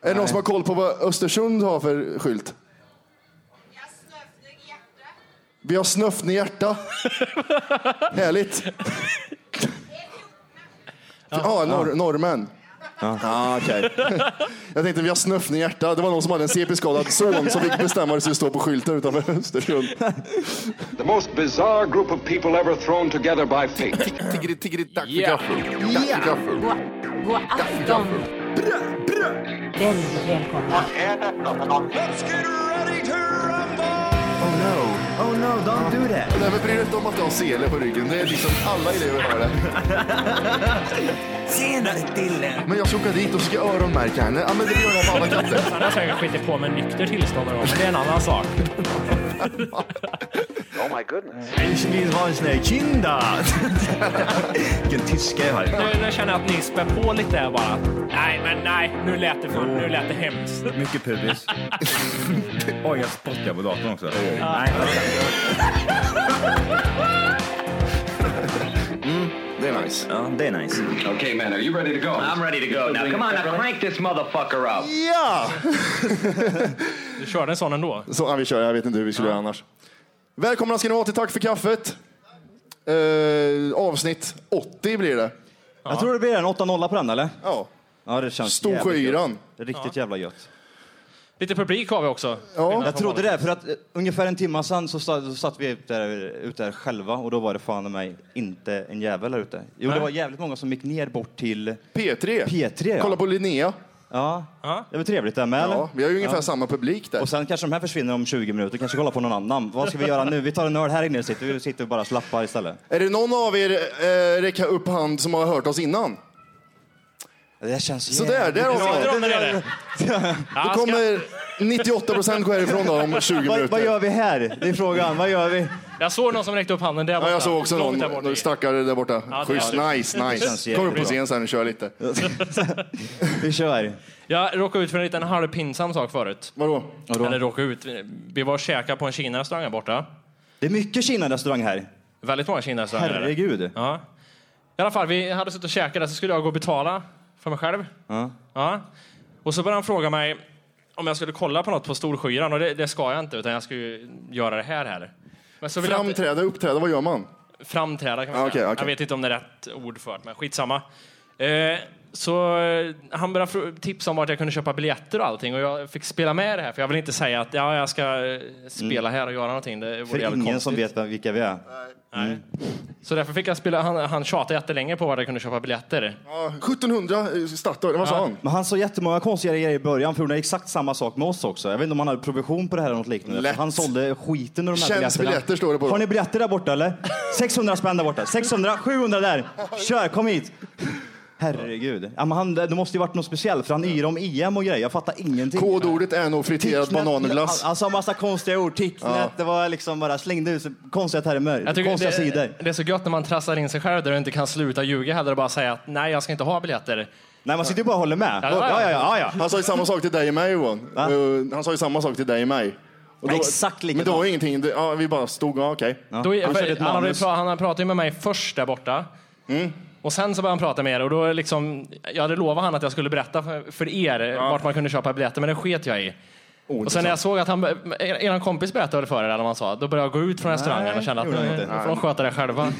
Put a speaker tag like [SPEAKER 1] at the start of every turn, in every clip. [SPEAKER 1] Är det någon som har koll på vad Östersund har för skylt? Vi har snöfne hjärta. Härligt. Ja, norr, norrmän. Ah, okej. Jag tänkte vi har snöfne hjärta. Det var någon som hade en CP-skadad son som fick bestämma sig att stå på skylten utanför Östersund.
[SPEAKER 2] The most bizarre group of people ever thrown together by fate.
[SPEAKER 3] Tiggeri, tiggeri, dack för gaffel. Dack
[SPEAKER 4] Yeah.
[SPEAKER 3] för gaffel.
[SPEAKER 5] God afton! Väldigt välkomna.
[SPEAKER 6] Oh no, oh no, don't do that.
[SPEAKER 1] Nej, men bry dig inte om att du har sele på ryggen. Det är liksom alla elever har det.
[SPEAKER 6] Tjenare Dille!
[SPEAKER 1] Men jag ska åka dit och ska öronmärka henne. Ja, men det gör jag på alla katter.
[SPEAKER 4] Han har säkert skitit på med nykter tillstånd någon gång, men det är en annan sak.
[SPEAKER 6] Ich vill ha en sån här kinda. Vilken tyska jag har.
[SPEAKER 4] Nu, nu känner jag att ni spär på lite här bara. Nej, men nej, nu lät det, för, nu lät det hemskt.
[SPEAKER 6] Mycket pubis. Oj, jag spottar på datorn också.
[SPEAKER 1] Det är nice.
[SPEAKER 6] Ja, det är nice.
[SPEAKER 2] Okay, man, are you ready to go? I'm ready to go. Now, come on, now crank this motherfucker up.
[SPEAKER 1] Ja!
[SPEAKER 4] Du körde en sån ändå.
[SPEAKER 1] Så, ja, vi kör. Jag vet inte hur vi skulle göra annars. Välkomna ska ni vara till Tack för kaffet. Eh, avsnitt 80 blir det.
[SPEAKER 7] Jag tror det blir en 8-0 på den, eller?
[SPEAKER 1] Ja.
[SPEAKER 7] Ja, det känns jävligt
[SPEAKER 1] Storsjöyran.
[SPEAKER 7] gött. Riktigt jävla gött.
[SPEAKER 4] Lite publik har vi också.
[SPEAKER 1] Ja.
[SPEAKER 7] Jag trodde det, för att eh, ungefär en timme sedan så satt, så satt vi ute där, ute där själva och då var det fan i mig inte en jävel där ute. Jo, det var jävligt många som gick ner bort till...
[SPEAKER 1] P3.
[SPEAKER 7] P3, ja.
[SPEAKER 1] Kolla på Linnea.
[SPEAKER 7] Ja,
[SPEAKER 4] Ja.
[SPEAKER 7] det var trevligt där med, eller?
[SPEAKER 1] Ja, vi har ju ungefär samma publik där.
[SPEAKER 7] Och sen kanske de här försvinner om 20 minuter, kanske kolla på någon annan. Vad ska vi göra nu? Vi tar en öl här inne och sitter, vi sitter och bara slappar istället.
[SPEAKER 1] Är det någon av er eh, räcka upp hand som har hört oss innan?
[SPEAKER 7] Det här känns
[SPEAKER 1] Så där, där har vi
[SPEAKER 4] Ja,
[SPEAKER 1] det.
[SPEAKER 4] drömmen är det.
[SPEAKER 1] Då kommer 98 procent gå härifrån då om 20
[SPEAKER 7] Vad, vad
[SPEAKER 1] minuter.
[SPEAKER 7] gör vi här? Det är frågan. Vad gör vi?
[SPEAKER 4] Jag såg någon som räckte upp handen där borta.
[SPEAKER 1] Ja, jag såg också
[SPEAKER 4] Långt där borta.
[SPEAKER 1] någon stackare där borta.
[SPEAKER 4] Ja, det
[SPEAKER 1] Schysst,
[SPEAKER 4] var
[SPEAKER 1] nice,
[SPEAKER 7] känns
[SPEAKER 1] nice. Kom upp på
[SPEAKER 7] jättebra.
[SPEAKER 1] scen sen och kör lite.
[SPEAKER 7] Vi kör.
[SPEAKER 4] Jag råkade ut för en liten halvpinsam sak förut.
[SPEAKER 1] Vadå?
[SPEAKER 4] Eller råkade ut. Vi var och käkade på en Kina-restaurang här borta.
[SPEAKER 7] Det är mycket Kina-restaurang här.
[SPEAKER 4] Väldigt många Kina-restauranger. är det.
[SPEAKER 7] Herregud.
[SPEAKER 4] Ja. I alla fall, vi hade suttit och käkat där, så skulle jag gå och betala för mig själv.
[SPEAKER 7] Ja.
[SPEAKER 4] Ja. Och så började han fråga mig om jag skulle kolla på något på Storskyran och det, det ska jag inte, utan jag ska ju göra det här. här. Men så vill jag inte,
[SPEAKER 1] Framträda, uppträda, vad gör man?
[SPEAKER 4] framträda kan man
[SPEAKER 1] Ja,
[SPEAKER 4] säga.
[SPEAKER 1] okej, okej.
[SPEAKER 4] Jag vet inte om det är rätt ord för det, men skitsamma. Eh, så eh, han började fr- tipsa om vart jag kunde köpa biljetter och allting och jag fick spela med i det här för jag vill inte säga att ja, jag ska eh, spela här och göra någonting. Det
[SPEAKER 7] Mm. För
[SPEAKER 4] vore
[SPEAKER 7] ingen
[SPEAKER 4] jävligt konstigt.
[SPEAKER 7] som vet vem- vilka vi är.
[SPEAKER 4] Så därför fick jag spela, han, han tjatade jättelänge på vart jag kunde köpa biljetter.
[SPEAKER 1] Ja, 1700 eh, startade, vad sa han?
[SPEAKER 7] Men han sa jättemånga konstiga grejer i början, för hon gjorde exakt samma sak med oss också. Jag vet inte om han hade provision på det här eller något liknande.
[SPEAKER 1] Lätt.
[SPEAKER 7] Han sålde skiten ur de här
[SPEAKER 1] Känns
[SPEAKER 7] biljetterna.
[SPEAKER 1] biljetter, står det på dem.
[SPEAKER 7] Har ni biljetter där borta eller? 600 spänn där borta. 600, 700 där. Kör, kom hit. Herregud. Ja, men han, det måste ju varit något speciellt, för han yr om IM och grejer. Jag fattar ingenting.
[SPEAKER 1] Kodordet är nog friterad
[SPEAKER 7] Ticknet- alltså,
[SPEAKER 1] bananglass.
[SPEAKER 7] Han, han sa massa konstiga ord. Ticknet,
[SPEAKER 1] Ja.
[SPEAKER 7] det var liksom bara slängde ut så- konstiga termer,
[SPEAKER 4] Jag tycker
[SPEAKER 7] konstiga
[SPEAKER 4] det,
[SPEAKER 7] sidor.
[SPEAKER 4] det är så gött när man trasslar in sig själv där du inte kan sluta ljuga heller och bara säga att nej, jag ska inte ha biljetter.
[SPEAKER 7] Nej, man sitter ju bara och håller med.
[SPEAKER 4] Ja, det var-
[SPEAKER 7] Ja, ja, ja. ja.
[SPEAKER 1] Han sa ju samma sak till dig och mig Johan.
[SPEAKER 7] Va?
[SPEAKER 1] Eh, Han sa ju samma sak till dig och mig. Och
[SPEAKER 7] Exakt
[SPEAKER 1] Men det
[SPEAKER 7] likadant.
[SPEAKER 1] var ju ingenting, det- ja, vi bara stod, ja, okej.
[SPEAKER 4] Då,
[SPEAKER 7] han
[SPEAKER 4] han,
[SPEAKER 7] körde ett
[SPEAKER 4] för, han, hade ju
[SPEAKER 7] manus. Mm.
[SPEAKER 4] pra, han hade pratat ju med mig först där borta. Och sen så började han prata med er och då är liksom, jag hade lovat han att jag skulle berätta för, för er vart man kunde köpa biljetter, men det sket jag i. och sen när jag såg att han, er, eran kompis berättade väl för er, eller vad han sa, då började jag gå ut från restaurangen och kände att
[SPEAKER 7] gjorde
[SPEAKER 4] nu
[SPEAKER 7] han inte.
[SPEAKER 4] nu får de sköta det själva.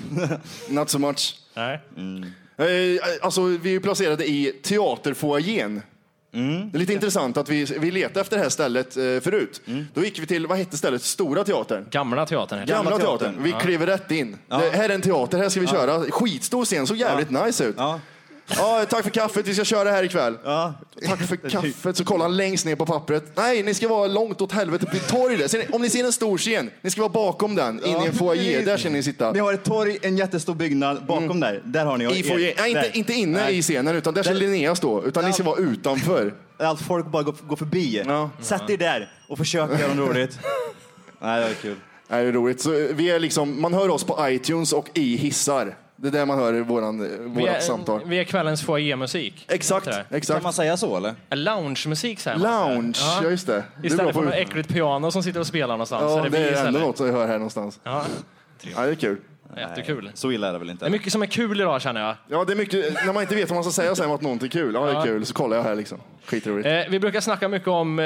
[SPEAKER 1] Not so much.
[SPEAKER 4] nej.
[SPEAKER 7] Mm.
[SPEAKER 1] Eh, Alltså, vi är ju placerade i teaterfoajén. Det är lite intressant att vi, vi letade efter det här stället eh, förut. Då gick vi till, vad hette stället, Stora Teatern?
[SPEAKER 4] Gamla teatern. heter det.
[SPEAKER 1] Gamla
[SPEAKER 7] Teatern.
[SPEAKER 1] teatern. Vi kliver rätt in. Det här är en teater, här ska vi köra. Skitstor scen, såg jävligt nice ut. Ja.
[SPEAKER 7] Ja.
[SPEAKER 1] tack för kaffet, vi ska köra här ikväll. Tack för kaffet, så kollar han längst ner på pappret. Nej, ni ska vara långt åt helvete vid torget. Ser ni- Om ni ser en stor scen, ni ska vara bakom den, in i en foyer. Där ska ni sitta.
[SPEAKER 7] Ni har ett torg, en jättestor byggnad bakom där. Där har ni
[SPEAKER 1] Mm. I foyer. Nej,
[SPEAKER 7] där.
[SPEAKER 1] inte, inte inne
[SPEAKER 7] Nej.
[SPEAKER 1] i scenen, utan där ska
[SPEAKER 7] Där-
[SPEAKER 1] Linnea stå. Utan ni ska vara utanför.
[SPEAKER 7] Allt folk bara går, går förbi.
[SPEAKER 1] Ja.
[SPEAKER 7] Sätt er där och försök göra något roligt. Nej, det var kul.
[SPEAKER 1] Nej, det är roligt. Så eh, vi är liksom, man hör oss på iTunes och i hissar. Det är där man hör våran, eh,
[SPEAKER 4] Vi
[SPEAKER 1] vårat samtal.
[SPEAKER 4] är, vi är kvällens foajémusik.
[SPEAKER 1] Exakt,
[SPEAKER 4] Heter det?
[SPEAKER 1] exakt.
[SPEAKER 7] Kan man säga så eller?
[SPEAKER 4] Loungemusik säger man.
[SPEAKER 1] Lounge, ja. just det. Du är bra
[SPEAKER 4] Istället
[SPEAKER 1] på
[SPEAKER 4] för något
[SPEAKER 1] ut-
[SPEAKER 4] äckligt piano som sitter och spelar någonstans.
[SPEAKER 1] Ja,
[SPEAKER 4] är
[SPEAKER 1] det
[SPEAKER 4] vi
[SPEAKER 1] är ändå
[SPEAKER 4] istället.
[SPEAKER 1] något som jag hör här någonstans.
[SPEAKER 4] Ja.
[SPEAKER 1] Ja, det är kul.
[SPEAKER 4] jättekul.
[SPEAKER 7] Så illa är det väl
[SPEAKER 4] Det är
[SPEAKER 7] inte?
[SPEAKER 4] mycket som är kul idag känner jag.
[SPEAKER 1] Ja, det är mycket, när man inte vet vad man ska säga sen att någonting är kul. Ja, det är kul. Så kollar jag här liksom. Skitroligt.
[SPEAKER 4] Eh, vi brukar snacka mycket om, eh,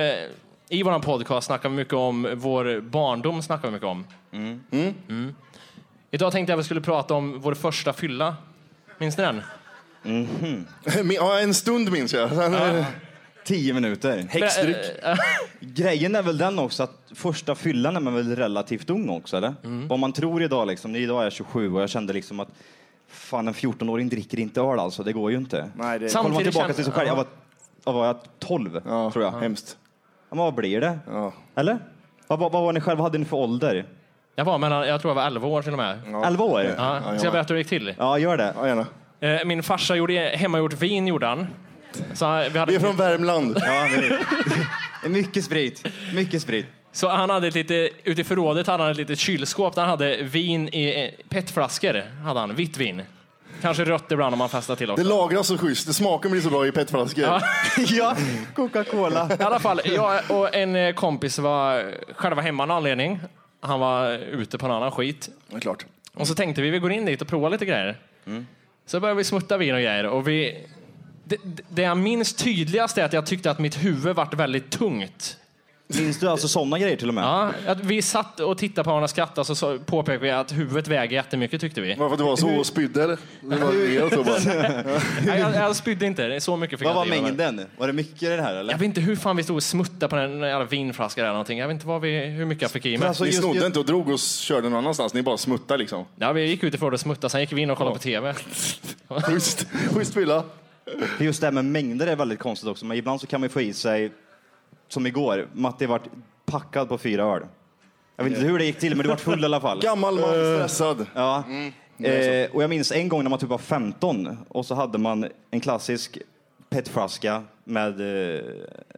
[SPEAKER 4] i vår podcast snackar vi mycket om vår barndom. Snackar vi mycket om. Mm. Idag tänkte jag att vi skulle prata om vår första fylla. Minns ni den?
[SPEAKER 1] Min- Ja, en stund minns jag. Sen, eh,
[SPEAKER 7] Tio minuter. Häxdryck. Grejen är väl den också att första fyllan är man väl relativt ung också, eller?
[SPEAKER 1] Mm.
[SPEAKER 7] Vad man tror idag liksom. Idag är jag 27 och jag kände liksom att fan en 14-åring dricker inte öl alltså, det går ju inte.
[SPEAKER 1] Nej, det
[SPEAKER 4] Sam-
[SPEAKER 1] är
[SPEAKER 7] Kollar man
[SPEAKER 4] Samtidigt
[SPEAKER 7] tillbaka
[SPEAKER 4] känns-
[SPEAKER 7] till sig själv, jag var, jag var jag 12
[SPEAKER 1] ja,
[SPEAKER 7] tror jag.
[SPEAKER 1] hemskt.
[SPEAKER 7] Ja, men vad blir det?
[SPEAKER 1] Ja.
[SPEAKER 7] Eller? Vad, vad, vad var ni själva, vad hade ni för ålder?
[SPEAKER 4] Jag var mellan, jag tror jag var 11 år till och med.
[SPEAKER 7] 11 år?
[SPEAKER 4] Ja,
[SPEAKER 1] jag
[SPEAKER 4] ska jag
[SPEAKER 1] med.
[SPEAKER 4] berätta hur det gick till?
[SPEAKER 7] Ja, gör det.
[SPEAKER 1] Ja, gärna.
[SPEAKER 4] Eh, min farsa gjorde hemmagjort vin, gjorde han. Så, han- vi
[SPEAKER 1] Vi
[SPEAKER 4] hade,
[SPEAKER 1] är från Värmland.
[SPEAKER 7] Ja, men- mycket sprit. Mycket sprit.
[SPEAKER 4] så han hade ett lite, ute i förrådet hade han ett litet kylskåp där han hade vin i eh, petflaskor. Hade han, vitt vin. Kanske rött ibland om man festar till
[SPEAKER 1] Det
[SPEAKER 4] också.
[SPEAKER 1] lagras så schysst. Det smaken blir så bra i petflaskor.
[SPEAKER 4] Ja.
[SPEAKER 7] ja, Coca-Cola.
[SPEAKER 4] I alla fall, jag och en eh, kompis var själva hemma av någon anledning. Han var ute på en annan skit.
[SPEAKER 1] Det är klart.
[SPEAKER 4] Och så tänkte vi, vi går in dit och provar lite grejer. Så började vi smutta vin och grejer. Och vi, det, det- det jag minns tydligast är att jag tyckte att mitt huvud vart väldigt tungt.
[SPEAKER 7] Minns du alltså sådana grejer till och med?
[SPEAKER 4] Ja, att vi satt och tittade på varandra och skrattade så- så påpekade vi att huvudet väger jättemycket tyckte vi.
[SPEAKER 1] Varför att du var så och spydde eller? Det var neråt så bara.
[SPEAKER 4] Nej, jag, jag spydde inte, det är så mycket fick
[SPEAKER 7] Vad
[SPEAKER 4] jag
[SPEAKER 7] var
[SPEAKER 4] inte i mig.
[SPEAKER 7] mängden? Var det mycket i det här
[SPEAKER 4] Jag
[SPEAKER 7] eller?
[SPEAKER 4] vet inte hur fan vi stod och smuttade på den jävla vinflaskan eller någonting. Jag vet inte vad vi, hur mycket jag fick i mig.
[SPEAKER 7] Alltså,
[SPEAKER 1] Ni
[SPEAKER 7] just-
[SPEAKER 1] snodde
[SPEAKER 7] just-
[SPEAKER 1] inte och drog och körde någon annanstans. Ni bara smuttade liksom.
[SPEAKER 4] Ja, vi gick ut ifrån och smuttade, sen gick vi in och kollade på TV.
[SPEAKER 1] Schysst. Schysst fylla.
[SPEAKER 7] För Just det här med mängder är väldigt konstigt också, men ibland så kan man ju få i sig, som igår, Matti vart packad på fyra öl. Jag vet inte hur det gick till, men du vart full i alla fall.
[SPEAKER 1] Gammal man, stressad.
[SPEAKER 7] Ja. Eh, och jag minns en gång när man typ var 15 och så hade man en klassisk petflaska med eh,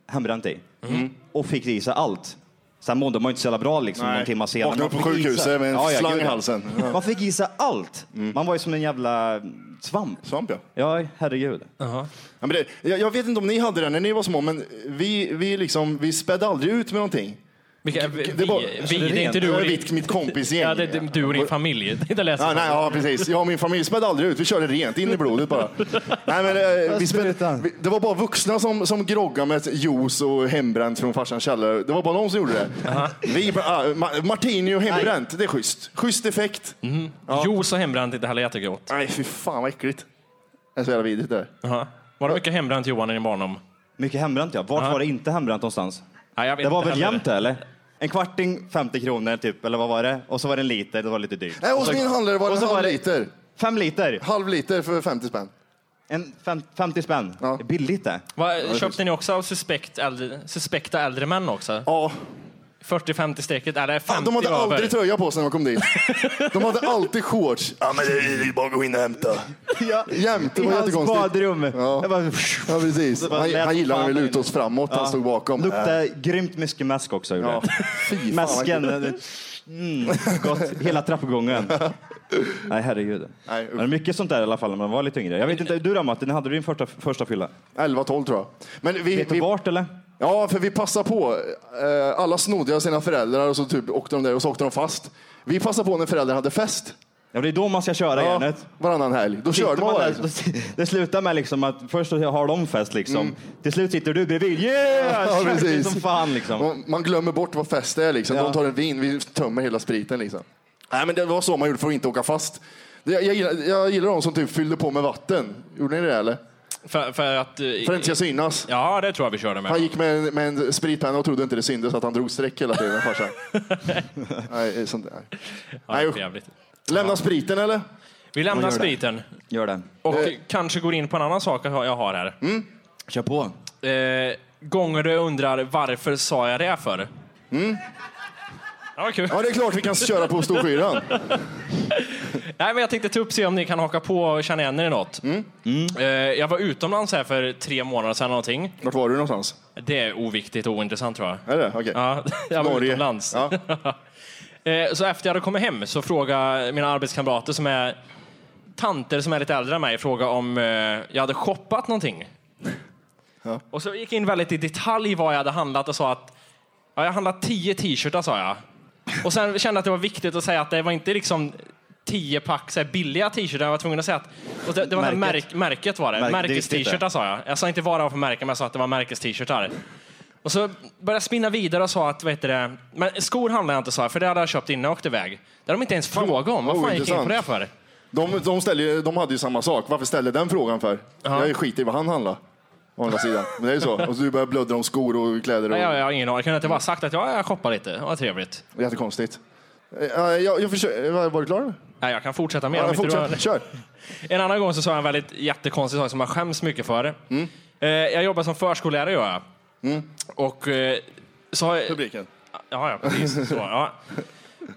[SPEAKER 7] hembränt i.
[SPEAKER 1] Mm.
[SPEAKER 7] Och fick i sig allt. Sen mådde man ju inte så jävla bra liksom
[SPEAKER 1] Nej.
[SPEAKER 7] någon timme senare.
[SPEAKER 1] Vaknade
[SPEAKER 7] Man
[SPEAKER 1] upp på
[SPEAKER 7] fick i sig-
[SPEAKER 1] sjukhuset med en
[SPEAKER 7] ja,
[SPEAKER 1] slang i
[SPEAKER 7] gud, ja.
[SPEAKER 1] halsen. Ja. Mm.
[SPEAKER 7] Man fick i sig allt. Man var ju som en jävla svamp.
[SPEAKER 1] Svamp ja.
[SPEAKER 7] Ja, herregud.
[SPEAKER 1] Ja, men det, jag, jag vet inte om ni hade det när ni var små, men vi, vi, liksom, vi spädde aldrig ut med någonting.
[SPEAKER 4] Vilka, vi,
[SPEAKER 1] Det
[SPEAKER 4] det,
[SPEAKER 1] är bara-
[SPEAKER 4] vi, det är inte du och
[SPEAKER 1] Jag är
[SPEAKER 4] din,
[SPEAKER 1] mitt, mitt kompisgäng.
[SPEAKER 4] ja, det, det, du och din familj. Det lät så.
[SPEAKER 1] Ja, nej, ja, precis. Jag och min familj spädde aldrig ut. Vi körde rent, in i blodet bara. Nej, men, eh, vi spädde,
[SPEAKER 7] Sprutan.
[SPEAKER 1] vi, det var bara vuxna som, som groggade med juice och hembränt från farsans källare. Det var bara de som gjorde det. Vi, bara, ah, ma, martini och hembränt, det är schysst. Schysst effekt.
[SPEAKER 4] Juice och hembränt, det här lät gott.
[SPEAKER 1] Nej, fy fan vad äckligt. Det är så jävla vidrigt det där.
[SPEAKER 4] Aha. Var det mycket hembränt Johan i din barndom?
[SPEAKER 7] Mycket hembränt ja. Vart var det inte hembränt någonstans?
[SPEAKER 4] Nej, jag vet
[SPEAKER 7] Det var
[SPEAKER 4] inte
[SPEAKER 7] väl
[SPEAKER 4] heller.
[SPEAKER 7] jämnt eller? En kvarting 50 kronor typ, eller vad var det? Och så var det en liter, det var lite dyrt.
[SPEAKER 1] Nej, hos min handlare var det
[SPEAKER 7] och
[SPEAKER 1] en
[SPEAKER 7] så
[SPEAKER 1] halv
[SPEAKER 7] var det-
[SPEAKER 1] liter.
[SPEAKER 7] Fem liter.
[SPEAKER 1] Halv liter för 50 spänn.
[SPEAKER 7] En fem, 50 spänn.
[SPEAKER 1] Ja.
[SPEAKER 7] Det är Billigt det.
[SPEAKER 4] Va, köpte ni också av suspekt äldre, suspekta äldre män också?
[SPEAKER 1] Ja,
[SPEAKER 4] 40-50 strecket, eller 50
[SPEAKER 1] Ah, de hade
[SPEAKER 4] över.
[SPEAKER 1] aldrig tröja på sig när de kom dit. De hade alltid shorts. Ja, men det är bara att gå in och hämta.
[SPEAKER 7] Ja.
[SPEAKER 1] Jämt, det
[SPEAKER 7] I
[SPEAKER 1] var
[SPEAKER 7] hans
[SPEAKER 1] jättekonstigt.
[SPEAKER 7] badrum. Jag bara,
[SPEAKER 1] Ja, precis.
[SPEAKER 7] Det bara
[SPEAKER 1] Han,
[SPEAKER 7] lät
[SPEAKER 1] han gillade när vi
[SPEAKER 7] fan
[SPEAKER 1] lutade oss framåt, han stod bakom. Äh.
[SPEAKER 7] Luktade grymt mycket mäsk också. gjorde
[SPEAKER 1] Ja.
[SPEAKER 7] det.
[SPEAKER 1] Fy fan, vad
[SPEAKER 7] Mäsken.
[SPEAKER 1] äckligt.
[SPEAKER 7] Mm, gott. Hela trappgången. Nej, herregud.
[SPEAKER 1] Nej, usch.
[SPEAKER 7] Men mycket sånt där i alla fall när man var lite yngre. Jag vet inte, du då Martin, hade du din första, första fylla?
[SPEAKER 1] 11-12 tror jag. Men vi,
[SPEAKER 7] Vet du
[SPEAKER 1] vi,
[SPEAKER 7] vart eller?
[SPEAKER 1] ja, för vi passade på. Eh, Alla snodde av sina föräldrar och så typ åkte de där och så åkte de fast. Vi passade på när föräldrar hade fest.
[SPEAKER 7] Ja, det är då man ska köra
[SPEAKER 1] Ja,
[SPEAKER 7] järnet.
[SPEAKER 1] varannan helg. Då
[SPEAKER 7] Sitter
[SPEAKER 1] körde man bara.
[SPEAKER 7] där,
[SPEAKER 1] liksom. Mm.
[SPEAKER 7] det slutar med liksom att först så har de fest liksom. Till slut sitter du bredvid. Yeah!
[SPEAKER 1] Ja,
[SPEAKER 7] Kör det
[SPEAKER 1] precis.
[SPEAKER 7] som fan liksom.
[SPEAKER 1] Man, man glömmer bort vad fest är. Liksom.
[SPEAKER 7] Ja.
[SPEAKER 1] De tar en vin, vi tömmer hela spriten. Liksom. Nej, men det var så man gjorde för att inte åka fast. Det- Jag, jag, gillar, jag gillar de som typ fyllde på med vatten. Gjorde ni det eller?
[SPEAKER 4] För, för att... eh,
[SPEAKER 1] För att det inte ska synas.
[SPEAKER 4] Ja, det tror jag vi körde med.
[SPEAKER 1] Han gick med, en- med en spritpenna och trodde inte det syntes att han drog streck hela tiden, farsan. nej, sånt, nej.
[SPEAKER 4] Ja, det
[SPEAKER 1] Nej,
[SPEAKER 4] är
[SPEAKER 1] usch.
[SPEAKER 4] för jävligt.
[SPEAKER 1] Lämna spriten eller?
[SPEAKER 4] Vi lämnar
[SPEAKER 7] gör det.
[SPEAKER 4] spriten
[SPEAKER 7] Gör det.
[SPEAKER 4] och kanske går in på en annan sak jag har- jag har här.
[SPEAKER 7] Kör på.
[SPEAKER 4] Eh, gånger du undrar varför sa jag det för? Mm. Ja, vad kul.
[SPEAKER 1] Ja, det är klart vi kan köra på Storskyran.
[SPEAKER 4] Nej, men jag tänkte ta upp se om ni kan haka på och känna igen er i något. Eh, jag var utomlands här för tre månader sedan någonting.
[SPEAKER 1] Vart var du någonstans?
[SPEAKER 4] Det är oviktigt och ointressant tror jag.
[SPEAKER 1] Är det? Okej.
[SPEAKER 4] Ja, jag var
[SPEAKER 1] Norge.
[SPEAKER 4] utomlands.
[SPEAKER 1] Ja.
[SPEAKER 4] Eh, så efter jag hade kommit hem så frågade mina arbetskamrater som är tanter som är lite äldre än mig fråga om eh, jag hade shoppat någonting. Och så gick jag in väldigt i detalj i vad jag hade handlat och sa att ja, jag handlat tio t-shirtar sa jag. Och sen kände jag att det var viktigt att säga att det var inte liksom tio pack så här billiga t-shirtar jag var tvungen att säga att... Och det, det var märket. Märk,
[SPEAKER 7] Märket.
[SPEAKER 4] märket var det.
[SPEAKER 7] Märk- det är viktigt,
[SPEAKER 4] Märkes-t-shirtar sa jag. Jag sa inte vad det var för märke, men jag sa att det var märkes-t-shirtar. Och så började jag spinna vidare och sa att, vad heter det, men skor handlade jag inte sa jag, för det hade jag köpt innan jag åkte iväg. Det hade de inte ens frågat om. Vad
[SPEAKER 1] vad
[SPEAKER 4] fan gick jag in på det
[SPEAKER 1] Oh, intressant.
[SPEAKER 4] för?
[SPEAKER 1] De, de, ställer, ju- de hade ju samma sak. Varför ställde den frågan för? Jag skiter i vad han handlar. Å andra sidan. Men det är ju så. Och så du börjar blöddra om skor och kläder. Och...
[SPEAKER 4] Nej, Jag, jag har ingen aning. Jag kunde inte bara sagt att ja, jag shoppar lite. Vad trevligt.
[SPEAKER 1] Jättekonstigt. Eh, Jag, jag försöker... var- Var du klar?
[SPEAKER 4] Nej, jag kan fortsätta mer
[SPEAKER 1] Ja,
[SPEAKER 4] om
[SPEAKER 1] jag
[SPEAKER 4] inte du har...
[SPEAKER 1] fortsätter. Kör.
[SPEAKER 4] En annan gång så sa jag en väldigt jättekonstig sak som jag skäms mycket för.
[SPEAKER 1] Mm.
[SPEAKER 4] Eh, jag jobbar som förskollärare gör jag. Och eh, så har jag...
[SPEAKER 1] Publiken.
[SPEAKER 4] Ja, ja, precis. Så, ja.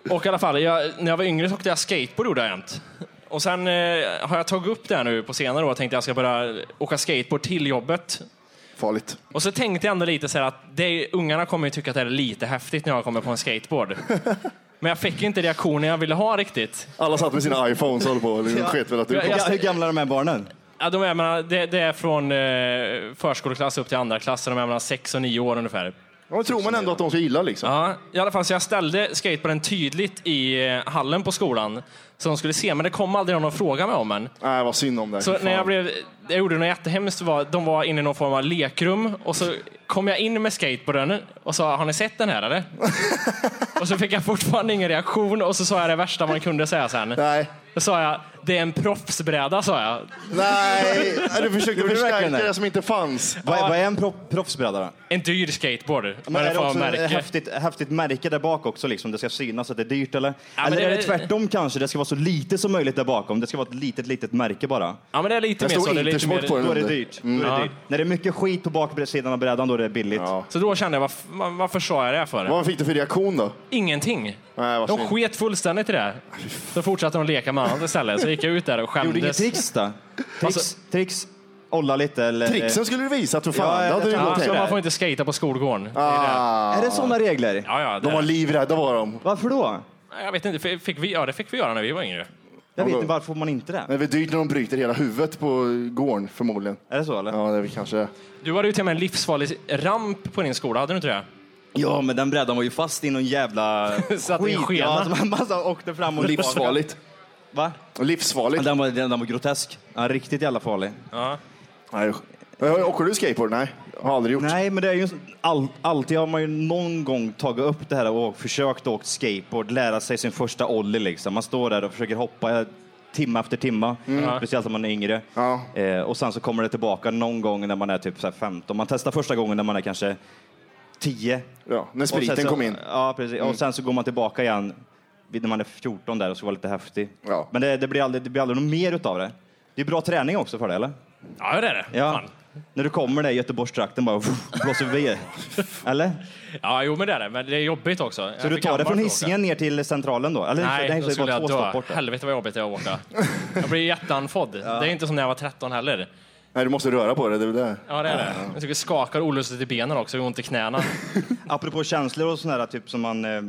[SPEAKER 4] Och i alla fall, jag, när jag var yngre så åkte jag skateboard gjorde jag jämt. Och sen eh, har jag tagit upp det här nu på senare år och tänkte jag ska börja åka skateboard till jobbet.
[SPEAKER 1] Farligt.
[SPEAKER 4] Och så tänkte jag ändå lite så här att det, är- ungarna kommer ju tycka att det är lite häftigt när jag kommer på en skateboard. Men jag fick ju inte reaktionen jag ville ha riktigt.
[SPEAKER 1] Alla satt med sina iPhones och höll på. Liksom,
[SPEAKER 7] Ja.
[SPEAKER 1] sket väl att du kom.
[SPEAKER 4] Jag-
[SPEAKER 7] Ja, hur gamla är de här barnen?
[SPEAKER 4] Ja, de är, mellan- det, det är från eh, förskoleklass upp till andra klass, så de är mellan 6 och 9 år ungefär.
[SPEAKER 1] Ja, men tror man ändå att de ska gilla liksom.
[SPEAKER 4] Ja, i alla fall så jag ställde skateboarden tydligt i eh, hallen på skolan så de skulle se, men det kom aldrig någon och frågade mig om den.
[SPEAKER 1] Nej, vad synd om det.
[SPEAKER 4] Så
[SPEAKER 1] Fan.
[SPEAKER 4] när jag, blev, jag gjorde något jättehemskt, var, de var inne i någon form av lekrum och så kom jag in med skateboarden och sa, har ni sett den här eller? och så fick jag fortfarande ingen reaktion och så sa jag det värsta man kunde säga sen.
[SPEAKER 1] Nej.
[SPEAKER 4] Då sa jag, det är en proffsbräda sa jag.
[SPEAKER 1] Nej, Nej, du försökte
[SPEAKER 7] Gjorde du verkligen
[SPEAKER 1] förstärka
[SPEAKER 7] det?
[SPEAKER 1] det som inte fanns.
[SPEAKER 7] Vad, vad är en pro, proffsbräda då?
[SPEAKER 4] En dyr skateboard. Men,
[SPEAKER 7] Men är det
[SPEAKER 4] får
[SPEAKER 7] också
[SPEAKER 4] märke.
[SPEAKER 7] ett häftigt, häftigt märke där bak också, liksom, det ska synas att det är dyrt eller?
[SPEAKER 4] men
[SPEAKER 7] eller
[SPEAKER 4] det-
[SPEAKER 7] är det tvärtom kanske, det ska vara så lite som möjligt där bakom, det ska vara ett litet, litet märke bara.
[SPEAKER 4] Ja, men det är lite
[SPEAKER 1] Det
[SPEAKER 4] mer så.
[SPEAKER 1] står
[SPEAKER 4] Det är lite
[SPEAKER 1] Intersport
[SPEAKER 4] mer...
[SPEAKER 1] på den
[SPEAKER 7] Då är det
[SPEAKER 1] under.
[SPEAKER 7] dyrt. Då är
[SPEAKER 4] Ja.
[SPEAKER 7] det dyrt. När det är mycket skit på baksidan av brädan, då är det billigt.
[SPEAKER 1] Ja.
[SPEAKER 4] Så då kände jag, varför, varför sa jag det här för?
[SPEAKER 1] Vad fick du för reaktion då?
[SPEAKER 4] Ingenting.
[SPEAKER 1] Nej, vad
[SPEAKER 4] De
[SPEAKER 1] synd.
[SPEAKER 4] sket fullständigt i det. här. Då fortsatte de leka med annat istället. Så gick jag ut där och
[SPEAKER 7] Gjorde inget
[SPEAKER 4] skämdes.
[SPEAKER 7] tricks då? Tricks,
[SPEAKER 4] Alltså-
[SPEAKER 7] tricks, olla lite eller?
[SPEAKER 1] Tricksen skulle du visa, tror fan.
[SPEAKER 7] Ja,
[SPEAKER 1] det
[SPEAKER 7] jag
[SPEAKER 1] hade du
[SPEAKER 7] tror
[SPEAKER 1] nog
[SPEAKER 4] Ja, så
[SPEAKER 1] tänkt.
[SPEAKER 4] man får inte skata på skolgården. Det är det.
[SPEAKER 1] Ah,
[SPEAKER 7] Är det sådana regler?
[SPEAKER 4] Ja, ja,
[SPEAKER 1] de var
[SPEAKER 4] det.
[SPEAKER 1] livrädda var de.
[SPEAKER 7] Varför då?
[SPEAKER 4] Jag vet inte, fick- fick vi, ja, det fick vi göra när vi var yngre.
[SPEAKER 7] Jag vet
[SPEAKER 1] då-
[SPEAKER 7] inte, varför får man inte
[SPEAKER 1] Det
[SPEAKER 7] det?
[SPEAKER 1] är väl dyrt när de bryter hela huvudet på gården förmodligen.
[SPEAKER 7] Är det så eller?
[SPEAKER 1] Ja, det är väl kanske.
[SPEAKER 4] Du hade ju till och med en livsfarlig ramp på din skola, hade du inte det?
[SPEAKER 7] Ja, men den brädan var ju fast i någon jävla
[SPEAKER 4] Satt i en skena.
[SPEAKER 7] Ja, så man bara åkte fram och
[SPEAKER 1] Livsfarligt.
[SPEAKER 7] Va?
[SPEAKER 1] Livsfarligt.
[SPEAKER 7] Den var, den, den var grotesk. Ja, riktigt jävla farlig.
[SPEAKER 1] Nej. usch. Ö, Åker du skateboard? Nej, har aldrig gjort.
[SPEAKER 7] Nej, men det är ju all, alltid har man ju någon gång tagit upp det här och försökt åka skateboard, lära sig sin första ollie liksom. Man står där och försöker hoppa eh, timme efter timme, speciellt om man är yngre.
[SPEAKER 1] Mm. Ja.
[SPEAKER 7] Eh, och sen så kommer det tillbaka någon gång när man är typ så här 15. Man testar första gången när man är kanske 10.
[SPEAKER 1] Ja, när
[SPEAKER 7] Och sen
[SPEAKER 1] spriten
[SPEAKER 7] så,
[SPEAKER 1] kom in. Mm.
[SPEAKER 7] Ja, precis. Och sen så går man tillbaka igen vid- när man är 14 där och ska vara lite häftig.
[SPEAKER 1] Ja.
[SPEAKER 7] Men det, det, blir aldrig, det blir aldrig något mer utav det. Det är bra träning också för det, eller?
[SPEAKER 4] Ja, det är det.
[SPEAKER 7] Ja.
[SPEAKER 4] Fan.
[SPEAKER 7] När du kommer där i Göteborgstrakten bara blåser vi Eller?
[SPEAKER 4] ja, jo men det är det. Men det är jobbigt också.
[SPEAKER 7] Så du tar det från Hisingen ner till centralen då? Eller,
[SPEAKER 4] Nej,
[SPEAKER 7] så
[SPEAKER 4] då
[SPEAKER 7] det är
[SPEAKER 4] skulle
[SPEAKER 7] bara
[SPEAKER 4] jag
[SPEAKER 7] två stopp
[SPEAKER 4] dö.
[SPEAKER 7] bort.
[SPEAKER 4] Helvete vad jobbigt det är att åka. Jag blir jätteanfodd. Det är inte som när jag var 13 heller.
[SPEAKER 1] Nej, du måste röra på det. det, är väl det.
[SPEAKER 4] Ja, det är det. Jag tycker det skakar olustigt i benen också, jag har ont i knäna.
[SPEAKER 7] Apropå känslor och sådana där typ som man, eh,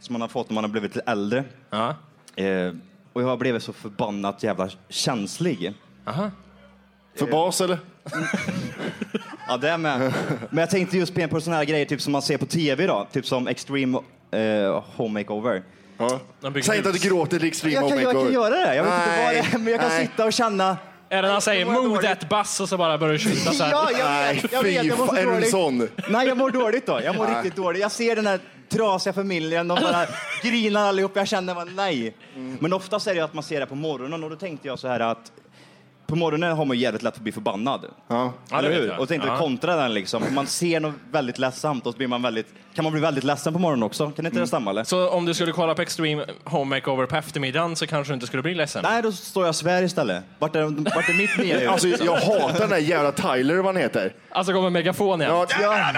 [SPEAKER 7] som man har fått när man har blivit lite äldre.
[SPEAKER 4] Ja.
[SPEAKER 7] Eh, och jag har blivit så förbannat jävla känslig. Eh.
[SPEAKER 1] För bas eller?
[SPEAKER 7] Ja, det är med. Men jag tänkte just på sådana här grejer typ som man ser på tv då, typ som Extreme eh, Home Makeover.
[SPEAKER 1] Ja.
[SPEAKER 4] De bygger
[SPEAKER 1] Säg inte att
[SPEAKER 4] hus.
[SPEAKER 1] du gråter till Extreme
[SPEAKER 7] Jag kan,
[SPEAKER 1] Home
[SPEAKER 7] jag kan
[SPEAKER 1] Makeover.
[SPEAKER 7] göra det, jag vet inte vad det är, men jag kan
[SPEAKER 1] nej.
[SPEAKER 7] sitta och känna
[SPEAKER 4] Är det när han säger
[SPEAKER 7] Det var
[SPEAKER 4] move
[SPEAKER 7] dåligt.
[SPEAKER 4] that bus och så bara börjar du skjuta så här.
[SPEAKER 7] Ja, jag
[SPEAKER 1] Nej,
[SPEAKER 7] vet, jag vet,
[SPEAKER 1] fy
[SPEAKER 7] jag mår
[SPEAKER 1] fan.
[SPEAKER 7] så
[SPEAKER 1] Är du en
[SPEAKER 7] dåligt.
[SPEAKER 1] sån?
[SPEAKER 7] Nej, jag mår dåligt då. Jag mår riktigt dåligt. Jag ser den här trasiga familjen, de bara grinar allihop. Jag känner bara nej.
[SPEAKER 4] Mm.
[SPEAKER 7] Men oftast är det ju att man ser det på morgonen och då tänkte jag så här att på morgonen har man ju jävligt lätt att bli förbannad.
[SPEAKER 1] Ja.
[SPEAKER 4] Ja, det
[SPEAKER 7] Eller
[SPEAKER 4] vet
[SPEAKER 7] hur?
[SPEAKER 4] jag.
[SPEAKER 7] Och tänkte
[SPEAKER 4] Ja.
[SPEAKER 7] kontra den liksom. Man ser något väldigt ledsamt och så blir man väldigt, kan man bli väldigt ledsen på morgonen också? Kan inte det stämma eller?
[SPEAKER 4] Mm. Så om du skulle kolla på Extreme Home Makeover på eftermiddagen så kanske du inte skulle bli ledsen?
[SPEAKER 7] Nej, då står jag och svär istället. Vart är, vart är mitt nya
[SPEAKER 1] Alltså, jag hatar den där jävla Tyler, vad han heter.
[SPEAKER 4] Alltså kommer megafon igen.
[SPEAKER 1] Ja,
[SPEAKER 7] jag,
[SPEAKER 1] alltså,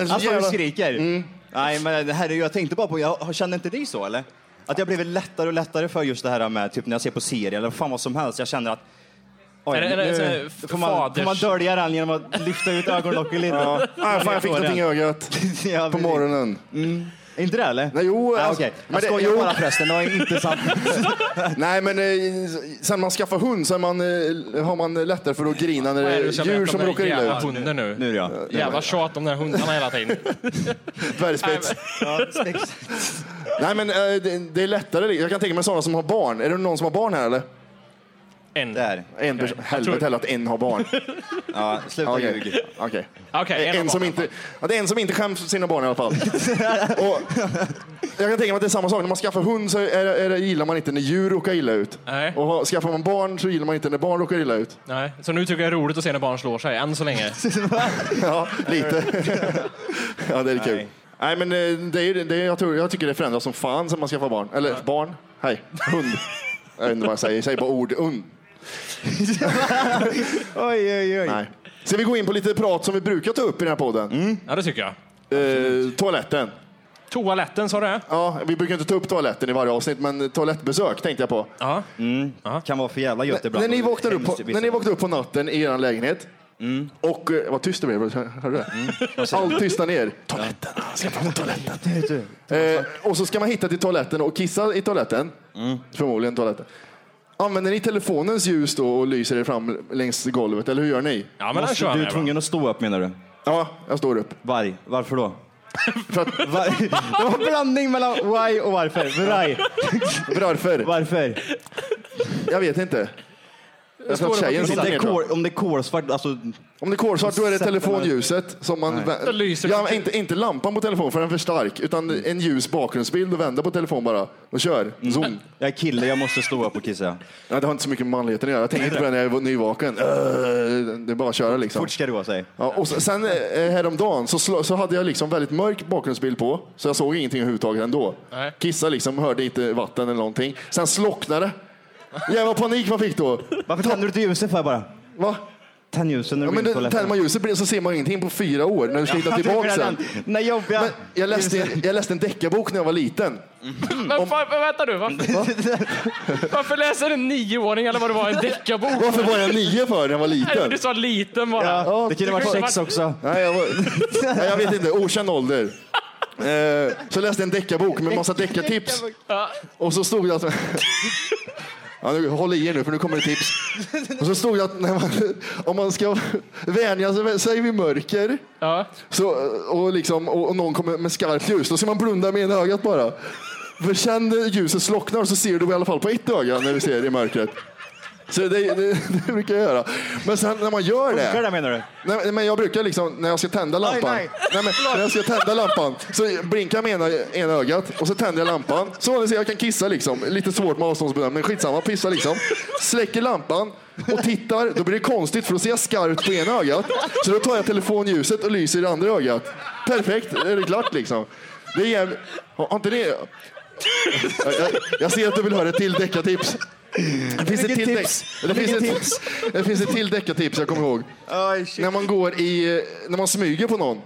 [SPEAKER 1] Mm.
[SPEAKER 7] Alltså du
[SPEAKER 1] jävla-
[SPEAKER 7] skriker? Nej men det här, är ju- jag tänkte bara på, jag, känner inte ni så eller? Att jag blivit lättare och lättare för just det här med typ när jag ser på serier eller fan vad som helst. Jag känner att oj,
[SPEAKER 4] Är det- är det så här
[SPEAKER 7] får, man, får man
[SPEAKER 4] faders-
[SPEAKER 7] dölja den genom att lyfta ut ögonlocken lite?
[SPEAKER 1] Ja. Ah, fan, jag fick någonting i ögat
[SPEAKER 7] Ja,
[SPEAKER 1] på
[SPEAKER 7] precis.
[SPEAKER 1] morgonen.
[SPEAKER 7] Inte det eller?
[SPEAKER 1] Nej, jo,
[SPEAKER 7] Ah,
[SPEAKER 1] alltså,
[SPEAKER 7] Okej,
[SPEAKER 1] men
[SPEAKER 7] jag
[SPEAKER 1] det-
[SPEAKER 7] skojar
[SPEAKER 1] jo.
[SPEAKER 7] bara förresten. Det var inte sant.
[SPEAKER 1] Nej, men eh, sen man skaffar hund så är man, eh, har man lättare för att grina när
[SPEAKER 4] Vad
[SPEAKER 1] det
[SPEAKER 4] är det du
[SPEAKER 1] är
[SPEAKER 4] ska
[SPEAKER 1] djur
[SPEAKER 4] berätta
[SPEAKER 1] som
[SPEAKER 4] om
[SPEAKER 1] råkar
[SPEAKER 4] den jävla
[SPEAKER 1] illa ut.
[SPEAKER 4] hunden nu?
[SPEAKER 7] Nu är jag.
[SPEAKER 4] Jävla tjat om de där hundarna hela tiden.
[SPEAKER 1] Dvärgspets. Nej, men eh, det, det är lättare. Jag kan tänka mig sådana som har barn. Är det någon som har barn här eller?
[SPEAKER 4] En.
[SPEAKER 7] Där.
[SPEAKER 1] En person. Helvete heller att en har barn.
[SPEAKER 7] Ja, sluta
[SPEAKER 1] Okej.
[SPEAKER 7] ljug.
[SPEAKER 1] Okej.
[SPEAKER 4] Okej,
[SPEAKER 1] en,
[SPEAKER 4] en har
[SPEAKER 1] som
[SPEAKER 4] barn.
[SPEAKER 1] inte, ja, det är en som inte skäms för sina barn i alla fall. och jag kan tänka mig att det är samma sak. När man skaffar hund så är, det- är, det- gillar man inte när djur råkar illa ut.
[SPEAKER 4] Nej.
[SPEAKER 1] Och har- skaffar man barn så gillar man inte när barn råkar illa ut.
[SPEAKER 4] Nej. Så nu tycker jag det är roligt att se när barn slår sig, än så länge.
[SPEAKER 1] Ja, lite. ja, det är kul.
[SPEAKER 7] Nej.
[SPEAKER 1] Nej, men eh, det är, ju- det är, jag, tror, jag tycker det förändras som fan sen man skaffar barn. Eller barn. Hej. Hund. Jag vet inte vad jag säger. Säg bara ord. Und.
[SPEAKER 7] Oj, oj, oj.
[SPEAKER 1] Nej. Ska vi gå in på lite prat som vi brukar ta upp i den här podden?
[SPEAKER 4] Ja, det tycker jag.
[SPEAKER 1] Eh, toaletten.
[SPEAKER 4] Toaletten sa du det?
[SPEAKER 1] Ja, vi brukar inte ta upp toaletten i varje avsnitt, men toalettbesök tänkte jag på.
[SPEAKER 4] Ja.
[SPEAKER 7] Kan vara för jävla gött ibland.
[SPEAKER 1] När ni, vaknar upp på,
[SPEAKER 7] Hemskt i vissa
[SPEAKER 1] när ni vaknar upp på natten i er lägenhet och eh, vad tyst det blev, hörde du det? Allt tystnar ner. Toaletten, ska fram till toaletten. eh, och så ska man hitta till toaletten och kissa i toaletten. Förmodligen toaletten. Använder ni telefonens ljus då och lyser er fram längs golvet, eller hur gör ni?
[SPEAKER 4] Ja, men den
[SPEAKER 7] Måste alltså,
[SPEAKER 4] kör
[SPEAKER 7] du
[SPEAKER 4] jag
[SPEAKER 7] är
[SPEAKER 4] med. va?
[SPEAKER 7] tvungen att stå upp menar du?
[SPEAKER 1] Ja, jag står upp.
[SPEAKER 7] Varg. Varför då?
[SPEAKER 1] För att,
[SPEAKER 7] Varg. Det var en blandning mellan why och varför. Varg.
[SPEAKER 1] varför?
[SPEAKER 7] Varför?
[SPEAKER 1] Jag vet inte. Jag tror att tjejen
[SPEAKER 7] Om
[SPEAKER 1] sitter
[SPEAKER 7] det
[SPEAKER 1] ner
[SPEAKER 7] är
[SPEAKER 1] tror jag.
[SPEAKER 7] kol- om det är kolsvart, alltså...
[SPEAKER 1] Om det är kolsvart då är det
[SPEAKER 7] Sätter man-
[SPEAKER 1] telefonljuset som man...
[SPEAKER 4] Då lyser
[SPEAKER 1] Ja,
[SPEAKER 4] det.
[SPEAKER 1] inte, inte lampan på telefonen för den är för stark, utan en ljus bakgrundsbild och vända på telefonen bara och kör.
[SPEAKER 7] Mm.
[SPEAKER 1] Zoom.
[SPEAKER 7] Jag är kille, jag måste stå upp och kissa.
[SPEAKER 1] Ja, det har inte så mycket med manligheten att göra. Jag tänkte inte på det när jag var nyvaken. Äh, Det är bara att köra liksom.
[SPEAKER 7] Fort ska det gå, säger
[SPEAKER 1] Ja, och s- sen eh, häromdagen så, slå, så hade jag liksom väldigt mörk bakgrundsbild på, så jag såg ingenting överhuvudtaget ändå.
[SPEAKER 4] Nej.
[SPEAKER 1] Kissa liksom, hörde inte vatten eller någonting. Sen slocknade det. Jävla panik man fick då.
[SPEAKER 7] Varför tänder du inte ljuset för bara?
[SPEAKER 1] Va?
[SPEAKER 7] Tänd ljuset när
[SPEAKER 1] Ja,
[SPEAKER 7] du går
[SPEAKER 1] men
[SPEAKER 7] in på
[SPEAKER 1] det- tänder
[SPEAKER 7] toaletten.
[SPEAKER 1] man ljuset blir- så ser man ingenting på fyra år när du ska hitta tillbaka sen.
[SPEAKER 7] Nej, jobbiga.
[SPEAKER 1] Men jag, läste, jag läste en deckarbok när jag var liten.
[SPEAKER 4] Men fan, vänta nu, varför, varför läser en nioåring eller vad det var en deckarbok?
[SPEAKER 1] Varför var jag nio för när jag var
[SPEAKER 4] Nej,
[SPEAKER 1] liten?
[SPEAKER 4] Du sa liten bara.
[SPEAKER 7] Ja, det kunde
[SPEAKER 4] Det
[SPEAKER 7] varit
[SPEAKER 4] kunde
[SPEAKER 7] sex
[SPEAKER 4] varit-
[SPEAKER 7] också.
[SPEAKER 1] Nej, jag, var, nej, jag vet inte, okänd ålder. Eh, Så läste jag en deckarbok med massa deckartips. Och så stod det att... Ja, nu, håll i er nu, för nu kommer det tips. Och så stod det att när man, om man ska vänja sig- sig vid mörker
[SPEAKER 4] Ja.
[SPEAKER 1] så, och, liksom, och, och någon kommer med skarpt ljus, då ska man blunda med ena ögat bara. För sen när ljuset slocknar så ser du i alla fall på ett öga när du ser i mörkret. Så det, det, det brukar jag göra. Men sen när man gör det...
[SPEAKER 7] Funkar det menar du?
[SPEAKER 1] Nej, men jag brukar liksom, när jag ska tända lampan,
[SPEAKER 7] nej.
[SPEAKER 1] men, när jag ska tända lampan så blinkar jag med ena, ena ögat och så tänder jag lampan. Så ni ser, jag kan kissa liksom. Lite svårt med avståndsbedömning, men skitsamma, pissa liksom. Släcker lampan och tittar, då blir det konstigt för då ser jag skarpt på ena ögat. Så då tar jag telefonljuset och lyser i det andra ögat. Perfekt, är det klart liksom. Det är jävligt... Har har inte det... Jag, jag, jag ser att du vill höra ett till deckartips. Det finns ett
[SPEAKER 7] Vilket
[SPEAKER 1] till däck-
[SPEAKER 7] tips?
[SPEAKER 1] det finns
[SPEAKER 7] Vilket
[SPEAKER 1] ett- det finns ett till deckartips jag kommer ihåg.
[SPEAKER 7] Oj, shit.
[SPEAKER 1] När man går i, eh, när man smyger på någon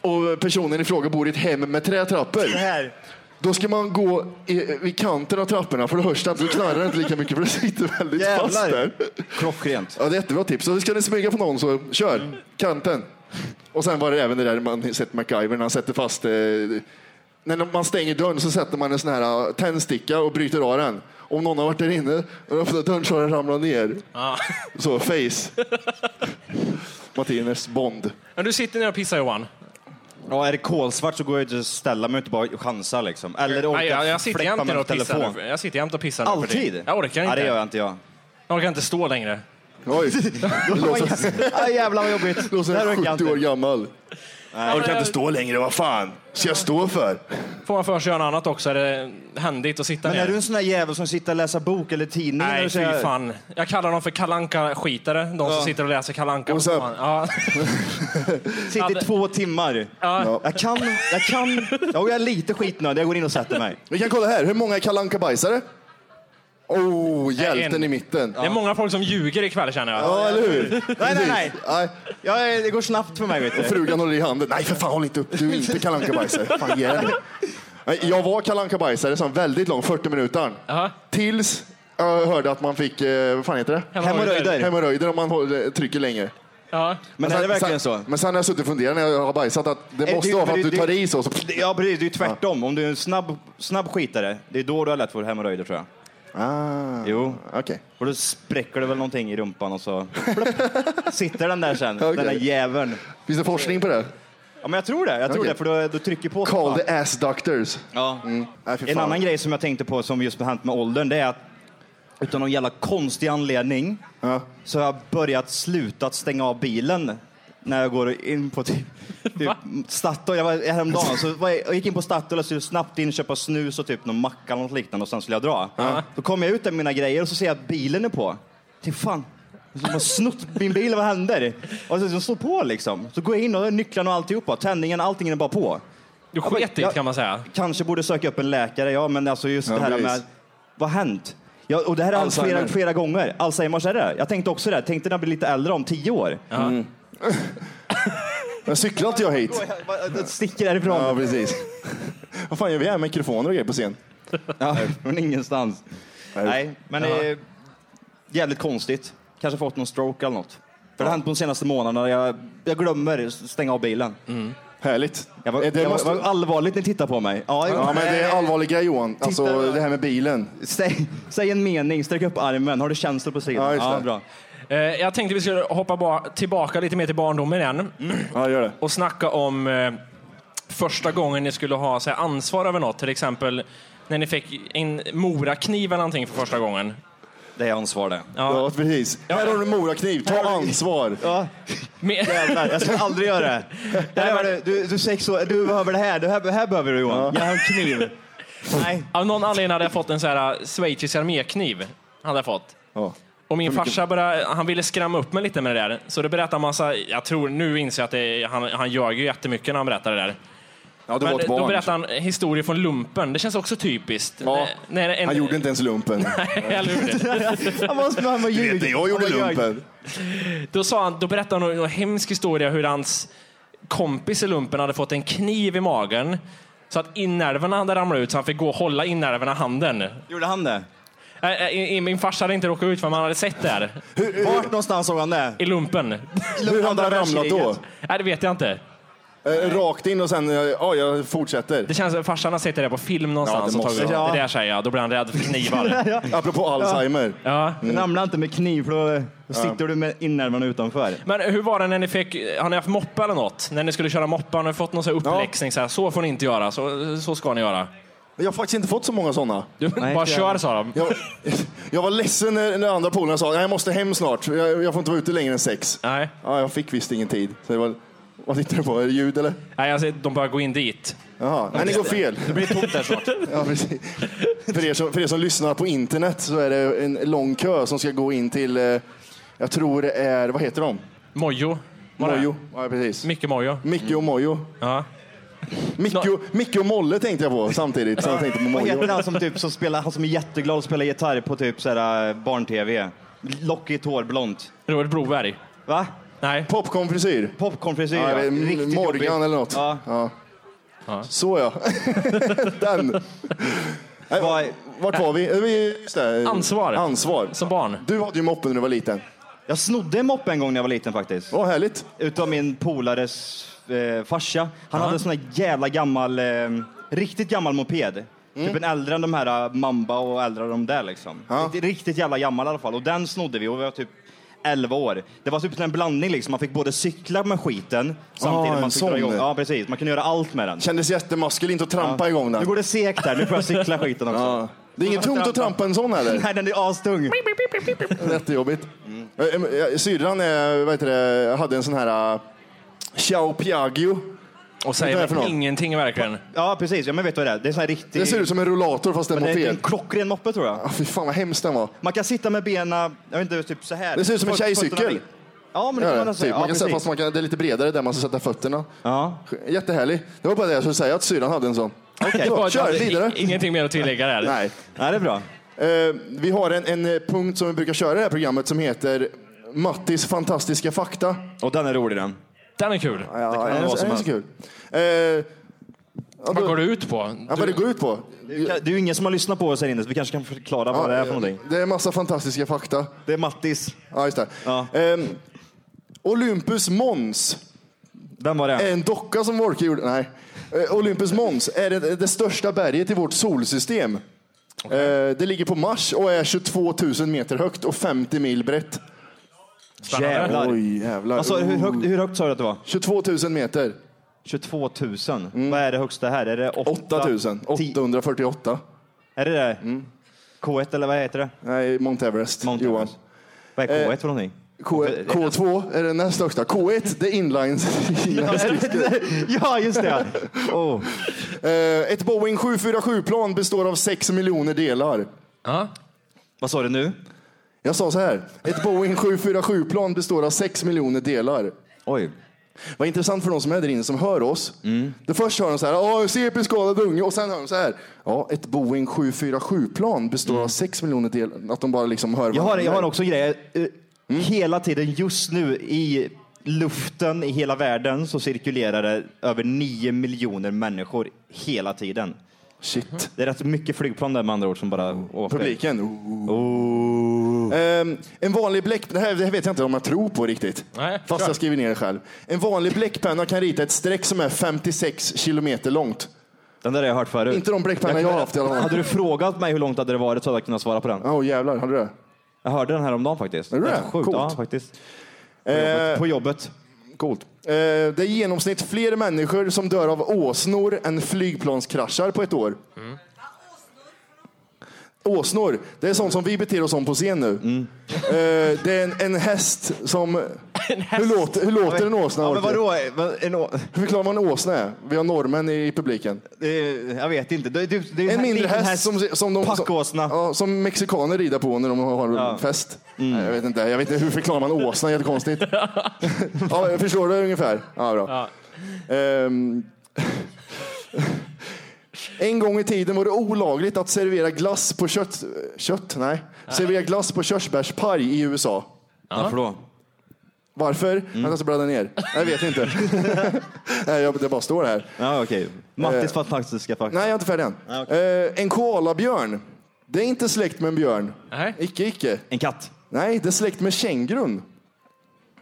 [SPEAKER 1] och personen i fråga bor i ett hem med trätrappor.
[SPEAKER 7] Det här.
[SPEAKER 1] Då ska man gå i, vid kanten av trapporna för då hörs det inte, då knarrar det inte lika mycket för det sitter väldigt fast
[SPEAKER 7] Jävlar.
[SPEAKER 1] där.
[SPEAKER 7] Klockrent.
[SPEAKER 1] Ja, det är jättebra tips. Så ska ni smyga på någon så kör, kanten. Och sen var det även det där man har sett MacGyver när han sätter fast, eh, när man stänger dörren så sätter man en sån här eh, tändsticka och bryter av den. Om någon har varit där inne och öppnat dörren så har den ramlat ner. Så, face. Martinez Bond.
[SPEAKER 4] Men du sitter ner och pissar Johan.
[SPEAKER 7] Ja, är det kolsvart så går jag inte att ställa mig och inte bara chansa liksom. Eller orkar
[SPEAKER 4] Nej, jag, jag sitter
[SPEAKER 7] fläppa
[SPEAKER 4] jämt
[SPEAKER 7] med
[SPEAKER 4] ner och pissar.
[SPEAKER 7] telefon.
[SPEAKER 4] nu. Jag sitter jämt och pissar nu för
[SPEAKER 7] Alltid?
[SPEAKER 4] tiden. Jag orkar
[SPEAKER 7] Nej,
[SPEAKER 4] inte.
[SPEAKER 7] det gör jag inte jag.
[SPEAKER 4] Jag orkar inte stå längre.
[SPEAKER 1] Oj,
[SPEAKER 7] Ah, jävlar vad jobbigt.
[SPEAKER 1] låter
[SPEAKER 7] Det här orkar jag
[SPEAKER 1] 70 år
[SPEAKER 7] inte.
[SPEAKER 1] gammal. Jag orkar inte stå längre, vad fan ska jag stå för?
[SPEAKER 4] Får man för sig göra något annat också är det händigt att sitta
[SPEAKER 7] Men är
[SPEAKER 4] ner.
[SPEAKER 7] du en sån där jävel som sitter och läser bok eller tidning? när
[SPEAKER 4] Nej,
[SPEAKER 7] du
[SPEAKER 4] fy
[SPEAKER 7] säger-
[SPEAKER 4] fan. Jag kallar dem för kalanka skitare de som sitter och läser kalanka.
[SPEAKER 1] Och så-
[SPEAKER 4] Ja.
[SPEAKER 7] Sitter i två timmar.
[SPEAKER 4] Ja.
[SPEAKER 7] Jag kan, jag kan. Jo, jag är lite skitnödig. Jag går in och sätter mig.
[SPEAKER 1] Vi kan kolla här, hur många är Kalle Anka bajsare? Oh, hjälten
[SPEAKER 4] en.
[SPEAKER 1] i mitten.
[SPEAKER 4] Det är många folk som ljuger ikväll känner jag.
[SPEAKER 1] Ja, eller hur?
[SPEAKER 7] Nej, nej, nej.
[SPEAKER 1] Nej,
[SPEAKER 7] Jag, är- det går snabbt för mig, vet du.
[SPEAKER 1] frugan håller i handen. Nej, för fan, håll inte upp. Du är inte Kalle Anka bajsare. Fan, ge dig. Nej, Jag var Kalle Anka bajsare, så en väldigt lång, 40 minuter.
[SPEAKER 4] Jaha.
[SPEAKER 1] Tills jag hörde att man fick, eh, vad fan heter det?
[SPEAKER 4] Hemorrojder.
[SPEAKER 1] Hemorrojder om man håller, trycker länge.
[SPEAKER 4] Ja.
[SPEAKER 7] Men är det verkligen så?
[SPEAKER 1] sen, Men sen har jag suttit och funderat när jag har bajsat att det
[SPEAKER 7] Äh,
[SPEAKER 1] måste
[SPEAKER 7] det-
[SPEAKER 1] vara för
[SPEAKER 7] det-
[SPEAKER 1] att du
[SPEAKER 7] det-
[SPEAKER 1] tar i så. så
[SPEAKER 7] Det- Ja, precis. Det är ju tvärtom. Om du är en snabb, snabb skitare, det är då du har lätt för hemorrojder tror jag.
[SPEAKER 1] ah,
[SPEAKER 7] Jo.
[SPEAKER 1] okej.
[SPEAKER 7] Och då spräcker det väl någonting i rumpan och så plopp, sitter den där sen,
[SPEAKER 1] Okej.
[SPEAKER 7] den där jäveln.
[SPEAKER 1] Finns det forskning på det?
[SPEAKER 7] Ja, men jag tror det. Jag tror
[SPEAKER 1] Okej.
[SPEAKER 7] det, för då, då trycker på. sig, va?
[SPEAKER 1] Call the ass doctors.
[SPEAKER 7] Ja.
[SPEAKER 1] Nej, fy
[SPEAKER 7] En
[SPEAKER 1] fan.
[SPEAKER 7] annan grej som jag tänkte på som just har hänt med åldern, det är att utan någon jävla konstig anledning
[SPEAKER 1] Ja.
[SPEAKER 7] så har jag börjat sluta att stänga av bilen när jag går in på typ, typ Statoil. Jag var häromdagen, så var jag, jag gick in på Statoil och skulle snabbt in och köpa snus och typ någon macka eller något liknande och sen skulle jag dra. Då kom jag ut där med mina grejer och så ser jag att bilen är på. Till fan, de har snott min bil, vad händer? Och så, de står på liksom. Så går jag in och har nycklarna och alltihopa, tändningen, allting är bara på.
[SPEAKER 4] Du
[SPEAKER 7] men-
[SPEAKER 4] sket i det
[SPEAKER 7] jag-
[SPEAKER 4] kan man säga.
[SPEAKER 7] Kanske borde söka upp en läkare, ja, men alltså just det här
[SPEAKER 1] precis.
[SPEAKER 7] med vad har hänt? Ja, och det här har hänt
[SPEAKER 1] Alzheimer.
[SPEAKER 7] flera, flera gånger. Alzheimers är det. Jag tänkte också det. Tänkte när jag blir lite äldre om tio år.
[SPEAKER 1] Men cyklar inte jag hit?
[SPEAKER 7] Jag sticker härifrån.
[SPEAKER 1] Ja, precis. Vad fan gör vi här? Mikrofoner och grejer på scen.
[SPEAKER 7] Ja, från ingenstans. Nej, men det är jävligt konstigt. Kanske fått någon stroke eller något. För det har hänt på de senaste månaderna. Jag, jag glömmer stänga av bilen.
[SPEAKER 1] Härligt.
[SPEAKER 7] Jag var,
[SPEAKER 1] Eh, Mm. det
[SPEAKER 7] jag
[SPEAKER 1] måste-
[SPEAKER 7] var allvarligt ni tittar på mig. Ja,
[SPEAKER 1] Ja, men det är en allvarlig grej Johan. Alltså
[SPEAKER 7] Titta.
[SPEAKER 1] det här med bilen.
[SPEAKER 7] säg, säg en mening, sträck upp armen. Har du känslor på sidan?
[SPEAKER 1] Ja, just det.
[SPEAKER 7] bra.
[SPEAKER 4] Eh, jag tänkte vi skulle hoppa ba- tillbaka lite mer till barndomen igen
[SPEAKER 1] Ja, gör det.
[SPEAKER 4] och snacka om eh, första gången ni skulle ha så här, ansvar över något. Till exempel när ni fick en morakniv eller någonting för första gången.
[SPEAKER 7] Det är ansvar det.
[SPEAKER 1] Ja, precis. Här har du en morakniv. Ta ansvar.
[SPEAKER 7] Ja,
[SPEAKER 4] Men-
[SPEAKER 7] jävlar. Jag ska aldrig göra det. det här var det. Du, du är sex år, du behöver det här. Det här, det här behöver du Johan. Jag har en kniv. Nej.
[SPEAKER 4] Av någon anledning hade jag fått en så här eh, schweizisk armékniv. Hade jag fått.
[SPEAKER 1] Ja.
[SPEAKER 4] Och min farsa började, han ville skrämma upp mig lite med det där. Så det berättade han massa, jag tror nu inser jag att det, är- han, han ljög ju jättemycket när han berättade det där.
[SPEAKER 1] Ja, det
[SPEAKER 4] Men
[SPEAKER 1] var ett
[SPEAKER 4] då
[SPEAKER 1] barn.
[SPEAKER 4] berättade han historier från lumpen. Det känns också typiskt.
[SPEAKER 1] Ja.
[SPEAKER 4] När en-
[SPEAKER 1] Han gjorde inte ens lumpen.
[SPEAKER 4] Eller hur?
[SPEAKER 7] Han var som han var ljug.
[SPEAKER 1] Inte jag gjorde
[SPEAKER 7] Han var ljug.
[SPEAKER 1] lumpen.
[SPEAKER 4] då, sa han, då berättade han en hemsk historia hur hans kompis i lumpen hade fått en kniv i magen. Så att innerverna hade ramlat ut så han fick gå och hålla innerverna i handen.
[SPEAKER 7] Gjorde han det?
[SPEAKER 4] Äh, äh, i- i- Min farsa hade inte råkat ut för man hade sett det här
[SPEAKER 7] Vart någonstans såg han det?
[SPEAKER 4] i lumpen.
[SPEAKER 1] Hur hade han ramlat då?
[SPEAKER 4] Nej, det vet jag inte.
[SPEAKER 1] Eh, Rakt in och sen, eh, ja, jag fortsätter.
[SPEAKER 4] Det känns som att farsan har sett det där på film någonstans.
[SPEAKER 1] Ja, det
[SPEAKER 4] och tagit
[SPEAKER 1] måste-
[SPEAKER 4] upp.
[SPEAKER 7] ja.
[SPEAKER 4] det där säger jag, då blir han rädd för knivar.
[SPEAKER 1] Apropå Alzheimer.
[SPEAKER 4] ja.
[SPEAKER 1] Mm.
[SPEAKER 7] Ramla inte med kniv för då, då sitter du med innervarna utanför.
[SPEAKER 4] Men hur var det när ni fick, har ni haft moppe eller något? När ni skulle köra moppe, har ni fått någon så här uppläxning? Så, här, så får ni inte göra, så, så ska ni göra.
[SPEAKER 1] Jag har faktiskt inte fått så många sådana.
[SPEAKER 4] Du,
[SPEAKER 7] Nej,
[SPEAKER 4] bara
[SPEAKER 7] inte
[SPEAKER 4] kör
[SPEAKER 7] jag.
[SPEAKER 4] sa de.
[SPEAKER 1] Jag, jag var ledsen när, när andra polarna sa jag måste hem snart, jag, jag får inte vara ute längre än sex.
[SPEAKER 4] Nej.
[SPEAKER 1] Ja, jag fick visst ingen tid. Så det var, vad tittar du på? Är det ljud eller?
[SPEAKER 4] Nej, alltså, de börjar gå in dit.
[SPEAKER 1] Jaha, nej, ni går fel.
[SPEAKER 7] Det blir tomt där snart.
[SPEAKER 1] Ja, precis. för, er som, för er som lyssnar på internet så är det en lång kö som ska gå in till, eh, jag tror det är, vad heter de?
[SPEAKER 4] Mojo. var det?
[SPEAKER 1] Mojo. Ja, precis.
[SPEAKER 4] Micke Mojo.
[SPEAKER 1] Micke och Mojo.
[SPEAKER 4] Ja.
[SPEAKER 1] Micke och, Micke och Molle tänkte jag på samtidigt. Så jag tänkte på
[SPEAKER 7] Vad heter
[SPEAKER 1] Mojo.
[SPEAKER 7] han som, typ, som, spelar, han som är jätteglad och spelar gitarr på typ så här, eh, barn-tv? Lockigt hår, blont.
[SPEAKER 4] Robert Broberg.
[SPEAKER 7] Va?
[SPEAKER 4] Nej.
[SPEAKER 1] Popcornfrisyr.
[SPEAKER 7] Popcornfrisyr.
[SPEAKER 1] Ja,
[SPEAKER 7] Ja,
[SPEAKER 1] eller
[SPEAKER 7] Riktigt
[SPEAKER 1] Morgan
[SPEAKER 7] jobbigt.
[SPEAKER 1] eller något.
[SPEAKER 7] Ja.
[SPEAKER 1] Ja. Så ja. Den. Nej,
[SPEAKER 7] Vad-
[SPEAKER 1] vart var vi? Eh, vi- Just det.
[SPEAKER 4] Ansvar.
[SPEAKER 1] Ansvar.
[SPEAKER 4] Som barn.
[SPEAKER 1] Du hade ju moppen när du var liten.
[SPEAKER 7] Jag snodde en moppe en gång när jag var liten faktiskt.
[SPEAKER 1] Vad härligt.
[SPEAKER 7] Utav min polares eh, farsa. Han hade en sån där jävla gammal, eh, riktigt gammal moped.
[SPEAKER 1] Mm.
[SPEAKER 7] Typ en äldre än de här eh, Mamba och äldre än de där liksom. Riktigt, riktigt jävla gammal i alla fall. Och den snodde vi och vi var typ 11 år. Det var typ en blandning liksom. Man fick både cykla med skiten samtidigt
[SPEAKER 1] Ah,
[SPEAKER 7] som
[SPEAKER 1] en
[SPEAKER 7] man fick dra
[SPEAKER 1] sån.
[SPEAKER 7] igång. Ja, precis. Man kunde göra allt med den.
[SPEAKER 1] Kändes jättemaskulint att trampa igång
[SPEAKER 7] Nu
[SPEAKER 1] den.
[SPEAKER 7] går det segt där. Nu får jag cykla skiten också.
[SPEAKER 1] Ja. Det är inget tungt att trampa en sån heller.
[SPEAKER 7] Nej, den är astung.
[SPEAKER 1] Jättejobbigt. Mm. Syrran är- vad heter det, hade en sån här uh, Xiao Piaggio.
[SPEAKER 4] Och
[SPEAKER 1] Vad är det för
[SPEAKER 4] säger
[SPEAKER 1] någon?
[SPEAKER 4] ingenting verkligen.
[SPEAKER 7] Ja, precis. Ja, men vet du vad det är? Det är sån här riktig...
[SPEAKER 1] Det ser ut som en rullator fast en
[SPEAKER 7] det är
[SPEAKER 1] moped.
[SPEAKER 7] en klockren moppe tror jag.
[SPEAKER 1] Ah, Fy fan vad hemskt den var.
[SPEAKER 7] Man kan sitta med benen, jag vet inte, typ så här.
[SPEAKER 1] Det ser ut som en
[SPEAKER 7] Fot-
[SPEAKER 1] tjejcykel.
[SPEAKER 7] fötterna vid. Ja, men det kan
[SPEAKER 1] Ja,
[SPEAKER 7] man nästan
[SPEAKER 1] typ.
[SPEAKER 7] ja,
[SPEAKER 1] man kan säga,
[SPEAKER 7] precis.
[SPEAKER 1] fast man kan, det är lite bredare där man ska sätta fötterna.
[SPEAKER 7] Ja.
[SPEAKER 1] Jättehärlig. Det var bara det jag skulle säga, att syrran hade en sån.
[SPEAKER 7] Okej.
[SPEAKER 1] Så, kör
[SPEAKER 4] I-
[SPEAKER 1] vidare.
[SPEAKER 4] Ingenting mer att tillägga där.
[SPEAKER 1] Nej.
[SPEAKER 7] ja, det är bra.
[SPEAKER 1] Eh, vi har en, en eh, punkt som vi brukar köra i det här programmet som heter Mattis fantastiska fakta.
[SPEAKER 7] Och den är rolig den.
[SPEAKER 4] Den är kul.
[SPEAKER 1] Ja, det
[SPEAKER 7] vara som
[SPEAKER 1] är så
[SPEAKER 7] helst.
[SPEAKER 1] kul. Eh, ja,
[SPEAKER 4] Vad
[SPEAKER 1] då,
[SPEAKER 4] går det ut på?
[SPEAKER 1] ja, vad det går ut på?
[SPEAKER 7] Det är ju ingen som har lyssnat på oss här inne så vi kanske kan förklara vad
[SPEAKER 1] eh,
[SPEAKER 7] det är för någonting.
[SPEAKER 1] det är en massa fantastiska fakta.
[SPEAKER 7] Det är Mattis.
[SPEAKER 1] Ja, just det.
[SPEAKER 7] Ja.
[SPEAKER 1] Eh, Olympus Mons
[SPEAKER 7] Vem var det?
[SPEAKER 1] är en docka som Wolke gjorde. Nej. Eh, Olympus Mons är det, det största berget i vårt solsystem. Eh, Det ligger på Mars och är 22 000 meter högt och 50 mil brett.
[SPEAKER 4] Spännande.
[SPEAKER 7] Jävlar.
[SPEAKER 1] Oj jävlar.
[SPEAKER 7] Alltså, hur,
[SPEAKER 1] Oh.
[SPEAKER 7] högt, hur högt sa du att det var?
[SPEAKER 1] 22 000 meter.
[SPEAKER 7] 22 000.
[SPEAKER 1] Mm.
[SPEAKER 7] Vad är det högsta här? Är det 8
[SPEAKER 1] 8 000. 848.
[SPEAKER 7] Är det det? K1 eller vad heter det?
[SPEAKER 1] Nej, Mount Everest.
[SPEAKER 7] Mount
[SPEAKER 1] Mm. Johan.
[SPEAKER 7] Everest. Vad är K1 för någonting?
[SPEAKER 1] K- K2 är den näst högsta. K1, det är inline.
[SPEAKER 7] ja, just det. Oh.
[SPEAKER 1] Eh, Ett Boeing 747-plan består av 6 miljoner delar.
[SPEAKER 4] Ja.
[SPEAKER 7] Vad sa du nu?
[SPEAKER 1] Jag sa så här. Ett Boeing 747-plan består av 6 miljoner delar.
[SPEAKER 7] Oj.
[SPEAKER 1] Vad intressant för de som är där inne som hör oss. Det först hör de så här, ja, CP skadad unge och sen hör de så här, ja, ett Boeing 747-plan består av 6 miljoner delar. Att de bara liksom hör
[SPEAKER 7] Jag har,
[SPEAKER 1] varandra.
[SPEAKER 7] jag har också grejer. Eh,
[SPEAKER 1] Mm.
[SPEAKER 7] Hela tiden just nu i luften i hela världen så cirkulerar det över 9 miljoner människor hela tiden.
[SPEAKER 1] Shit.
[SPEAKER 7] Det är rätt mycket flygplan där med andra ord som bara åker. Oh.
[SPEAKER 1] Publiken. Ooh. Ehm, en vanlig bläck... Det här, det här vet jag inte om jag tror på riktigt.
[SPEAKER 4] Nej,
[SPEAKER 1] Fast
[SPEAKER 4] kör.
[SPEAKER 1] jag skriver ner det själv. En vanlig bläckpenna kan rita ett streck som är 56 kilometer långt.
[SPEAKER 7] Den där har jag hört förut.
[SPEAKER 1] Inte de bläckpennor jag har haft i alla fall.
[SPEAKER 7] Hade du frågat mig hur långt hade det varit så hade jag kunnat svara på den.
[SPEAKER 1] Åh jävlar, hade du det?
[SPEAKER 7] Jag hörde den här om dagen faktiskt.
[SPEAKER 1] Är det
[SPEAKER 7] Rätt
[SPEAKER 1] det?
[SPEAKER 7] Sjukt.
[SPEAKER 1] Coolt.
[SPEAKER 7] Ja, faktiskt.
[SPEAKER 1] Eh,
[SPEAKER 7] På jobbet.
[SPEAKER 1] coolt. Eh, det är i genomsnitt fler människor som dör av åsnor än flygplanskraschar på ett år. Mm. Åsnor, det är sånt som vi beter oss som på scen nu. Eh, det är en, en häst som... Hur låter, hur låter en åsna?
[SPEAKER 7] Ja, men
[SPEAKER 1] Orke?
[SPEAKER 7] vadå? Men en å-
[SPEAKER 1] Hur förklarar man en åsna är? Vi har norrmän i publiken.
[SPEAKER 7] det är- Jag vet inte. Det, det, det är
[SPEAKER 1] En
[SPEAKER 7] här
[SPEAKER 1] mindre
[SPEAKER 7] liten
[SPEAKER 1] häst, som, som, de, som,
[SPEAKER 7] Packåsna.
[SPEAKER 1] ja, som mexikaner rider på när de har
[SPEAKER 7] Ja. Mm.
[SPEAKER 1] fest. Nej, jag, vet inte, jag vet inte, hur förklarar man åsna? Jättekonstigt. ja, jag förstår det ungefär. Ja, bra. Ehm, en gång i tiden var det olagligt att servera glass på kött... Kött? Nej. Servera glass på körsbärspaj i USA.
[SPEAKER 7] Varför då?
[SPEAKER 1] Varför?
[SPEAKER 7] Mm.
[SPEAKER 1] Vänta, jag ska bläddra ner. Jag vet inte. Nej, jag, det bara står här.
[SPEAKER 7] Ja, okej. Mattis fantastiska fakta.
[SPEAKER 1] Eh, Nej, jag är inte färdig än.
[SPEAKER 7] Ah, okej.
[SPEAKER 1] Eh, en koalabjörn. Det är inte släkt med en björn.
[SPEAKER 4] Nej.
[SPEAKER 1] Icke, icke.
[SPEAKER 7] En katt.
[SPEAKER 1] Nej, det är släkt med kängurun.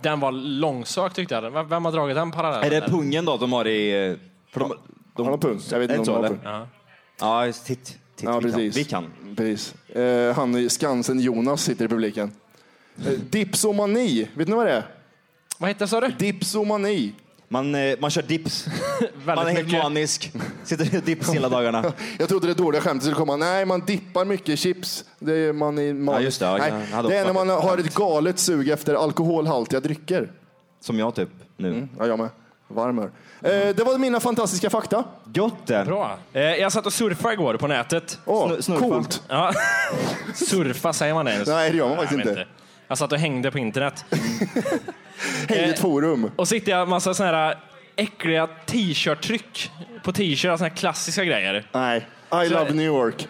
[SPEAKER 4] Den var långsökt tyckte jag. Vem- Vem har dragit den parallellen?
[SPEAKER 7] Är det
[SPEAKER 4] där?
[SPEAKER 7] pungen då de har i... eh, För de, de,
[SPEAKER 1] Han har pung. Jag vet
[SPEAKER 7] Är det
[SPEAKER 1] inte
[SPEAKER 7] så,
[SPEAKER 1] om han har
[SPEAKER 7] eller?
[SPEAKER 1] pung.
[SPEAKER 7] Ja, just- titt. titt
[SPEAKER 1] Ja,
[SPEAKER 7] vi,
[SPEAKER 1] precis.
[SPEAKER 7] Kan. vi kan.
[SPEAKER 1] Precis. Eh, han i Skansen, Jonas, sitter i publiken. Eh, dipsomani. Vet ni vad det är?
[SPEAKER 4] Vad hette det sa du?
[SPEAKER 1] Dipsomani.
[SPEAKER 7] Man, eh, man kör dips. man är
[SPEAKER 4] Väldigt
[SPEAKER 7] helt
[SPEAKER 4] mycket.
[SPEAKER 7] manisk. Sitter i dips hela dagarna.
[SPEAKER 1] Jag trodde det dåliga skämtet skulle komma. Nej, man dippar mycket chips. Det är, man i man...
[SPEAKER 7] Ja, just det. Ja, jag
[SPEAKER 1] Nej,
[SPEAKER 7] hade
[SPEAKER 1] det är när
[SPEAKER 7] också-
[SPEAKER 1] man har ett galet sug efter alkoholhaltiga drycker.
[SPEAKER 7] Som jag typ nu.
[SPEAKER 1] Ja, jag med. Varmör. Eh, det var mina fantastiska fakta.
[SPEAKER 7] Gött det.
[SPEAKER 4] Bra. Eh, jag satt och surfade igår på nätet.
[SPEAKER 1] Åh,
[SPEAKER 7] Snu- snurpa.
[SPEAKER 1] coolt.
[SPEAKER 4] Ja. Surfa, säger man det ens?
[SPEAKER 1] Nej, det gör man
[SPEAKER 4] Nej,
[SPEAKER 1] faktiskt
[SPEAKER 4] men
[SPEAKER 1] inte.
[SPEAKER 4] Jag satt och hängde på internet.
[SPEAKER 1] Hej, ett forum.
[SPEAKER 4] Och så hittade jag en massa såna här äckliga t-shirt-tryck på t-shirtar, såna här klassiska grejer.
[SPEAKER 1] Nej. I
[SPEAKER 4] Så-
[SPEAKER 1] love New York.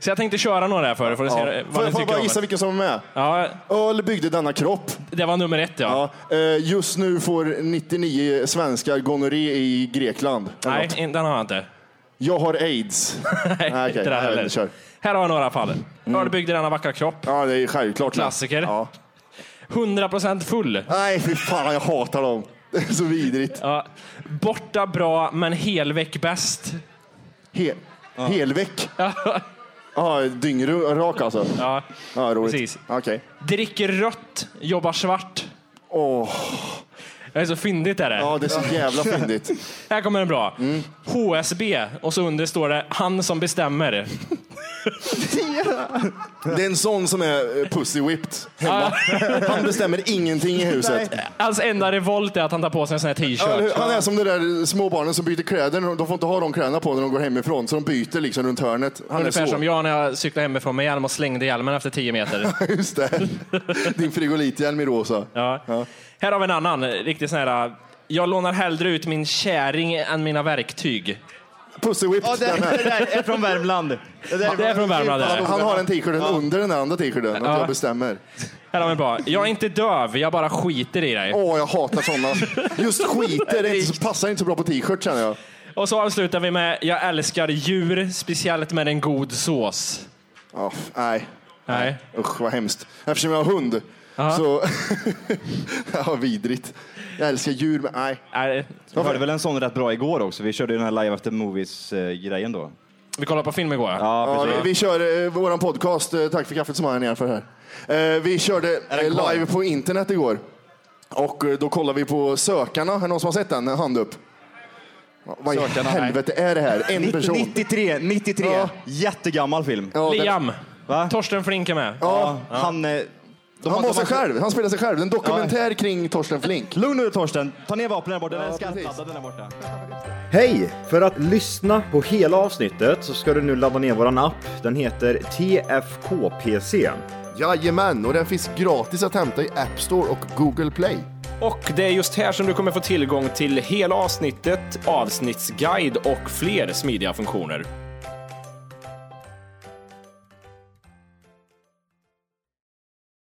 [SPEAKER 4] Så jag tänkte köra några här för er, för att se
[SPEAKER 1] Ja. Får
[SPEAKER 4] vad ni
[SPEAKER 1] jag, får jag
[SPEAKER 4] tycker
[SPEAKER 1] bara
[SPEAKER 4] om
[SPEAKER 1] gissa
[SPEAKER 4] det.
[SPEAKER 1] vilken som är med?
[SPEAKER 4] Ja,
[SPEAKER 1] Öl byggde denna kropp.
[SPEAKER 4] det var nummer ett ja.
[SPEAKER 1] Ja. eh, Just nu får 99 svenskar gonorré i Grekland. Eller
[SPEAKER 4] Nej,
[SPEAKER 1] något.
[SPEAKER 4] in- den har jag inte.
[SPEAKER 1] Jag har aids.
[SPEAKER 4] Nej,
[SPEAKER 1] okej.
[SPEAKER 4] inte den
[SPEAKER 1] Nej,
[SPEAKER 4] heller.
[SPEAKER 1] kör.
[SPEAKER 4] Här har jag några fall. Mm. byggde denna vackra kropp.
[SPEAKER 1] Ja, det är självklart. med.
[SPEAKER 4] Klassiker.
[SPEAKER 1] Ja.
[SPEAKER 4] 100% full.
[SPEAKER 1] Nej, fy fan jag hatar dem. Det är så vidrigt.
[SPEAKER 4] Ja. Borta bra, men helväck bäst.
[SPEAKER 1] He- Helväck. Ja, dyngrak alltså.
[SPEAKER 4] Ja.
[SPEAKER 1] Ja, roligt.
[SPEAKER 4] Precis.
[SPEAKER 1] Okej.
[SPEAKER 4] Dricker rött, jobbar svart.
[SPEAKER 1] Åh,
[SPEAKER 4] Det är så fyndigt är det.
[SPEAKER 1] Ja, Mm. det är så jävla fyndigt.
[SPEAKER 4] Här kommer en bra. HSB och så under står det han som bestämmer.
[SPEAKER 1] Det är en sån som är eh, pussy whipped hemma. Han bestämmer ingenting i huset.
[SPEAKER 4] Hans Alltså, enda revolt är att han tar på sig en sån här
[SPEAKER 1] Ja, eller
[SPEAKER 4] t-shirt.
[SPEAKER 1] hur? Han är som de där små barnen som byter kläder. De får inte ha de kläderna på när de går hemifrån, så de byter liksom runt hörnet. Han är
[SPEAKER 4] Ungefär
[SPEAKER 1] så.
[SPEAKER 4] som jag när jag cyklade hemifrån med hjälm och slängde hjälmen efter 10 meter.
[SPEAKER 1] Just det. Din frigolithjälm i rosa.
[SPEAKER 4] Ja. Här har vi en annan riktigt sån här. Jag lånar hellre ut min käring än mina verktyg.
[SPEAKER 1] Pussy whipped.
[SPEAKER 7] Ja, det,
[SPEAKER 1] den här.
[SPEAKER 7] det där är från Värmland. Det, där
[SPEAKER 4] Det är från Värmland. det
[SPEAKER 1] Han,
[SPEAKER 4] Här,
[SPEAKER 1] han har den t-shirten under den andra t-shirten. Att jag bestämmer.
[SPEAKER 4] här har vi en bra. Jag är inte döv, jag bara skiter i dig.
[SPEAKER 1] Åh, jag hatar sådana. Just skiter, det är inte, så- passar inte så bra på t-shirt känner jag.
[SPEAKER 4] Och så avslutar vi med Jag älskar djur, speciellt med en god sås.
[SPEAKER 1] Ja, f- nej,
[SPEAKER 4] Nej.
[SPEAKER 1] usch vad hemskt. Eftersom jag har hund Så... ja, vidrigt. Jag älskar djur, men nej.
[SPEAKER 4] Nej,
[SPEAKER 7] Vi hörde väl en sån rätt bra igår också. Vi körde ju den här Live After Movies-grejen då.
[SPEAKER 4] vi kollade på film igår. Ja.
[SPEAKER 1] Ja, vi, vi kör eh, vår podcast, eh, Tack för kaffet som har jag ner för här. Eh, vi körde eh,
[SPEAKER 7] kvar?
[SPEAKER 1] live på internet igår. Och eh, då kollade vi på Sökarna. Är det någon som har sett den? Hand upp. Ja, Vad i
[SPEAKER 4] Sökarna, nej.
[SPEAKER 1] helvete är det här? En person.
[SPEAKER 7] 93, 93.
[SPEAKER 1] Ja.
[SPEAKER 7] Jättegammal film.
[SPEAKER 1] Ja, den-
[SPEAKER 4] Liam.
[SPEAKER 7] Va?
[SPEAKER 4] Torsten Flink är med.
[SPEAKER 1] Ja,
[SPEAKER 7] Han... eh, De
[SPEAKER 1] han
[SPEAKER 7] de
[SPEAKER 1] var sig själv. Han spelar sig själv. En dokumentär kring Torsten Flink.
[SPEAKER 7] Lugn nu Torsten, ta ner vapnen där borta. den är
[SPEAKER 1] precis.
[SPEAKER 7] skarpladdad den där borta.
[SPEAKER 8] Hej! För att lyssna på hela avsnittet så ska du nu ladda ner våran app. Den heter TFKPC.
[SPEAKER 1] Jajamän, och den finns gratis att hämta i App Store och Google Play.
[SPEAKER 9] Och det är just här som du kommer få tillgång till hela avsnittet, avsnittsguide och fler smidiga funktioner.